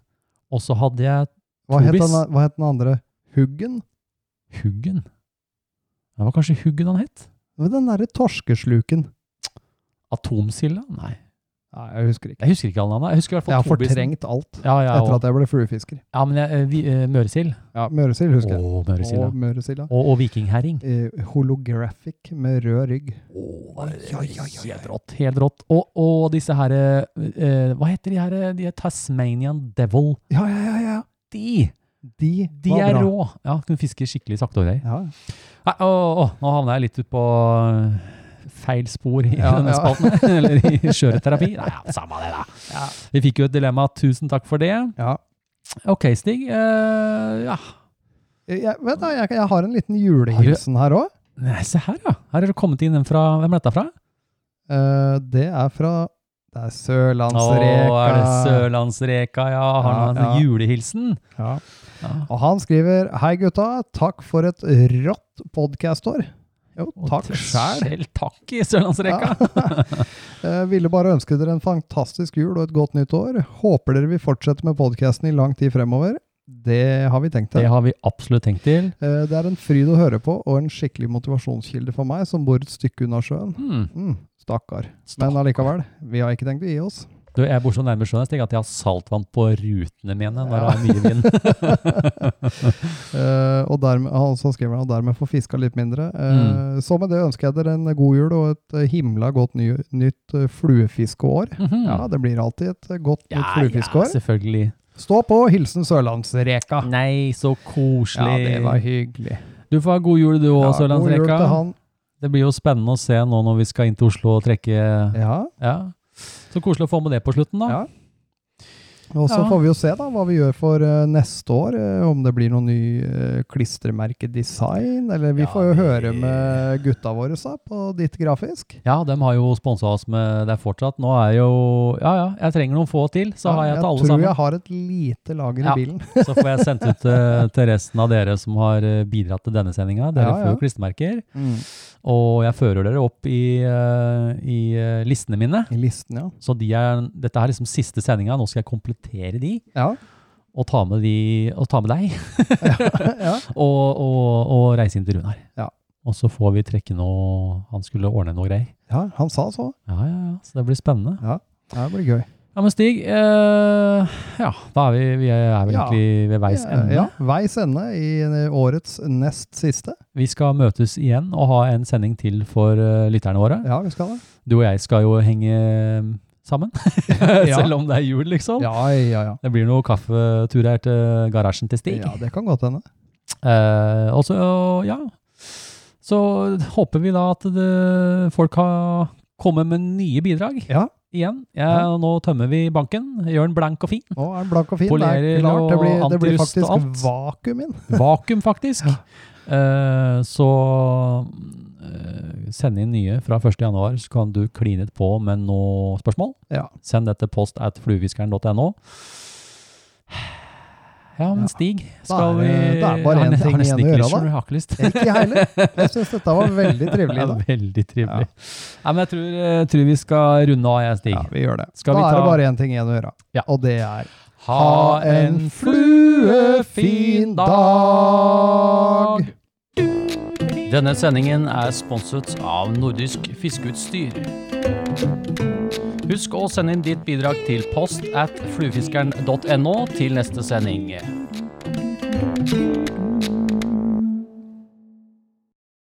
Speaker 5: Og så hadde jeg
Speaker 6: Hva het,
Speaker 5: Tobis.
Speaker 6: den, hva het den andre? Huggen?
Speaker 5: Huggen. Det var kanskje Huggen han het?
Speaker 6: Men Den derre torskesluken.
Speaker 5: Atomsilda? Nei.
Speaker 6: Nei, jeg husker ikke.
Speaker 5: Jeg husker ikke alle navnene. Jeg husker i hvert
Speaker 6: Jeg
Speaker 5: fall
Speaker 6: har
Speaker 5: Tobisen.
Speaker 6: fortrengt alt
Speaker 5: Ja, jeg
Speaker 6: etter
Speaker 5: også.
Speaker 6: at jeg ble fluefisker.
Speaker 5: ja, men jeg, eh, vi, eh, Møresild.
Speaker 6: Ja, Møresild husker jeg.
Speaker 5: Å, Møresild, ja.
Speaker 6: Og Møresilda.
Speaker 5: Og, og vikingherring.
Speaker 6: Eh, holographic med rød rygg.
Speaker 5: Å, det er Helt rått. Helt rått. Og, og disse her eh, eh, Hva heter de her? eh, De er Tasmanian Devil.
Speaker 6: Ja, ja, ja, ja.
Speaker 5: De!
Speaker 6: De,
Speaker 5: De
Speaker 6: var
Speaker 5: er
Speaker 6: bra.
Speaker 5: rå! Ja, kunne fiske skikkelig sakte og greier.
Speaker 6: Ja.
Speaker 5: Nei, å, å, nå havna jeg litt ut på eh, feil spor i
Speaker 6: Ja,
Speaker 5: denne
Speaker 6: ja.
Speaker 5: spalten. Eller i skjøreterapi. Nei, ja, samme det, da. Vi fikk jo et dilemma. Tusen takk for det.
Speaker 6: ja.
Speaker 5: Ok, Stig. eh, ja.
Speaker 6: Jeg, vet du, jeg, jeg har en liten julehilsen her òg.
Speaker 5: Nei, se her, ja. Her er det kommet inn en fra Hvem er dette fra?
Speaker 6: Eh, det er fra Det er
Speaker 5: Å,
Speaker 6: Sørlandsreka.
Speaker 5: er det Sørlandsreka, ja. Har
Speaker 6: Ja,
Speaker 5: han en
Speaker 6: ja.
Speaker 5: julehilsen?
Speaker 6: Ja.
Speaker 5: Ja.
Speaker 6: Og han skriver Hei gutta, takk for et rått podcastår. Jo, takk
Speaker 5: Og
Speaker 6: sjæl.
Speaker 5: selv Takk i Sørlandsreka.
Speaker 6: Eh, ville bare ønske dere en fantastisk jul og et godt nytt år. Håper dere vil fortsette med podkasten i lang tid fremover. Det har vi tenkt
Speaker 5: Det
Speaker 6: til.
Speaker 5: har vi absolutt tenkt til.
Speaker 6: Eh, Det er en fryd å høre på, og en skikkelig motivasjonskilde for meg som bor et stykke unna sjøen.
Speaker 5: Hmm.
Speaker 6: Mm, stakkar.
Speaker 5: Stakkar.
Speaker 6: Men allikevel, vi har ikke tenkt å gi oss.
Speaker 5: Du, jeg bor så nærme sjøen Stig, at jeg har saltvann på rutene mine når det er mye vind.
Speaker 6: Eh, og dermed, han- så skriver han og dermed får fiska litt mindre.
Speaker 5: Mm.
Speaker 6: Eh, Så med det ønsker jeg dere en god jul og et eh, himla godt ny, nytt eh, fluefiskeår.
Speaker 5: Mhm.
Speaker 6: Ja, det blir alltid et eh, godt
Speaker 5: Ja,
Speaker 6: nytt
Speaker 5: ja,
Speaker 6: fluefiskeår.
Speaker 5: selvfølgelig.
Speaker 6: Stå på! Hilsen Sørlandsreka.
Speaker 5: Nei, så koselig.
Speaker 6: hyggelig.
Speaker 5: Du får ha god jul du òg,
Speaker 6: Ja, god jul til
Speaker 5: Sørlandsreka.
Speaker 6: han.
Speaker 5: Det blir jo spennende å se nå når vi skal inn til Oslo og trekke
Speaker 6: Ja.
Speaker 5: Ja. Så koselig å få med det på slutten, da.
Speaker 6: Ja. Og så
Speaker 5: Ja.
Speaker 6: får vi jo se da hva vi gjør for eh, neste år, eh, om det blir noen ny eh, klistremerkedesign, eller vi
Speaker 5: Ja,
Speaker 6: får jo
Speaker 5: det-
Speaker 6: høre med gutta våre sa, på ditt grafisk.
Speaker 5: Ja, de har jo sponsa oss med det fortsatt. Nå er jo Ja, ja, jeg trenger noen få til, så
Speaker 6: Ja,
Speaker 5: har jeg til alle
Speaker 6: tror
Speaker 5: sammen.
Speaker 6: jeg har et lite lager
Speaker 5: Ja.
Speaker 6: i bilen.
Speaker 5: Så får jeg sendt ut eh, til resten av dere som har eh, bidratt til denne sendinga. Dere
Speaker 6: Ja,
Speaker 5: får
Speaker 6: ja.
Speaker 5: jo klistremerker. Mm. Og jeg fører dere opp i, eh, i eh, listene mine.
Speaker 6: I listen, ja.
Speaker 5: Så de er, dette er liksom siste sendinga. Nå skal jeg komplettere de,
Speaker 6: Ja,
Speaker 5: og ta med, de, og ta med deg.
Speaker 6: ja.
Speaker 5: Og, og, og reise inn til Runar.
Speaker 6: Ja.
Speaker 5: Og så får vi trekke noe Han skulle ordne noe greier.
Speaker 6: ja han sa så.
Speaker 5: Ja, ja, ja. Så det blir spennende.
Speaker 6: Ja, Det blir gøy.
Speaker 5: Ja, men Stig, eh, ja, da er vi, vi er vel
Speaker 6: Ja.
Speaker 5: egentlig ved veis ende.
Speaker 6: Ja, veis ende i eh, årets nest siste.
Speaker 5: Vi skal møtes igjen og ha en sending til for eh, lytterne våre.
Speaker 6: Ja, vi skal det.
Speaker 5: Du og jeg skal jo henge eh, sammen, selv om det er jul, liksom.
Speaker 6: Ja, ja, ja.
Speaker 5: Det blir noen kaffeturer til garasjen til Stig.
Speaker 6: Ja, det kan godt hende.
Speaker 5: Eh, og så, ja, så håper vi da at det, folk har kommet med nye bidrag
Speaker 6: Ja.
Speaker 5: igjen. Ja, Nå tømmer vi banken, gjør den blank og fin.
Speaker 6: Nå er den blank og fin. det
Speaker 5: Polerer
Speaker 6: er klart. Det
Speaker 5: og
Speaker 6: blir, det blir
Speaker 5: antirust og
Speaker 6: faktisk
Speaker 5: alt.
Speaker 6: vakuum inn.
Speaker 5: Vakuum, faktisk. Eh, så eh, send inn nye fra 1. januar, så kan du kline på med noe spørsmål.
Speaker 6: Ja.
Speaker 5: Send det til post at fluefiskeren.no. Ja, men
Speaker 6: Ja.
Speaker 5: Stig,
Speaker 6: Da
Speaker 5: skal
Speaker 6: er
Speaker 5: vi
Speaker 6: det- det er bare
Speaker 5: Jeg har
Speaker 6: en
Speaker 5: ne- jeg
Speaker 6: ting
Speaker 5: har nesten
Speaker 6: igjen å
Speaker 5: ikke lyst,
Speaker 6: gjøre, da.
Speaker 5: skjønner du, Jeg har ikke lyst.
Speaker 6: Ikke jeg heller. Jeg syns dette var veldig trivelig.
Speaker 5: Ja,
Speaker 6: Da.
Speaker 5: veldig trivelig. Nei, men jeg tror, jeg tror vi skal runde av, jeg, Stig.
Speaker 6: Ja, vi gjør det.
Speaker 5: Skal vi
Speaker 6: da er
Speaker 5: ta-
Speaker 6: det bare én ting igjen å gjøre,
Speaker 5: Ja.
Speaker 6: og det er
Speaker 5: Ha en fluefin dag!
Speaker 1: Denne sendingen er sponset av Nordisk Fiskeutstyr. Husk å sende inn ditt bidrag til post at fluefiskeren.no til neste sending.
Speaker 7: Blæ!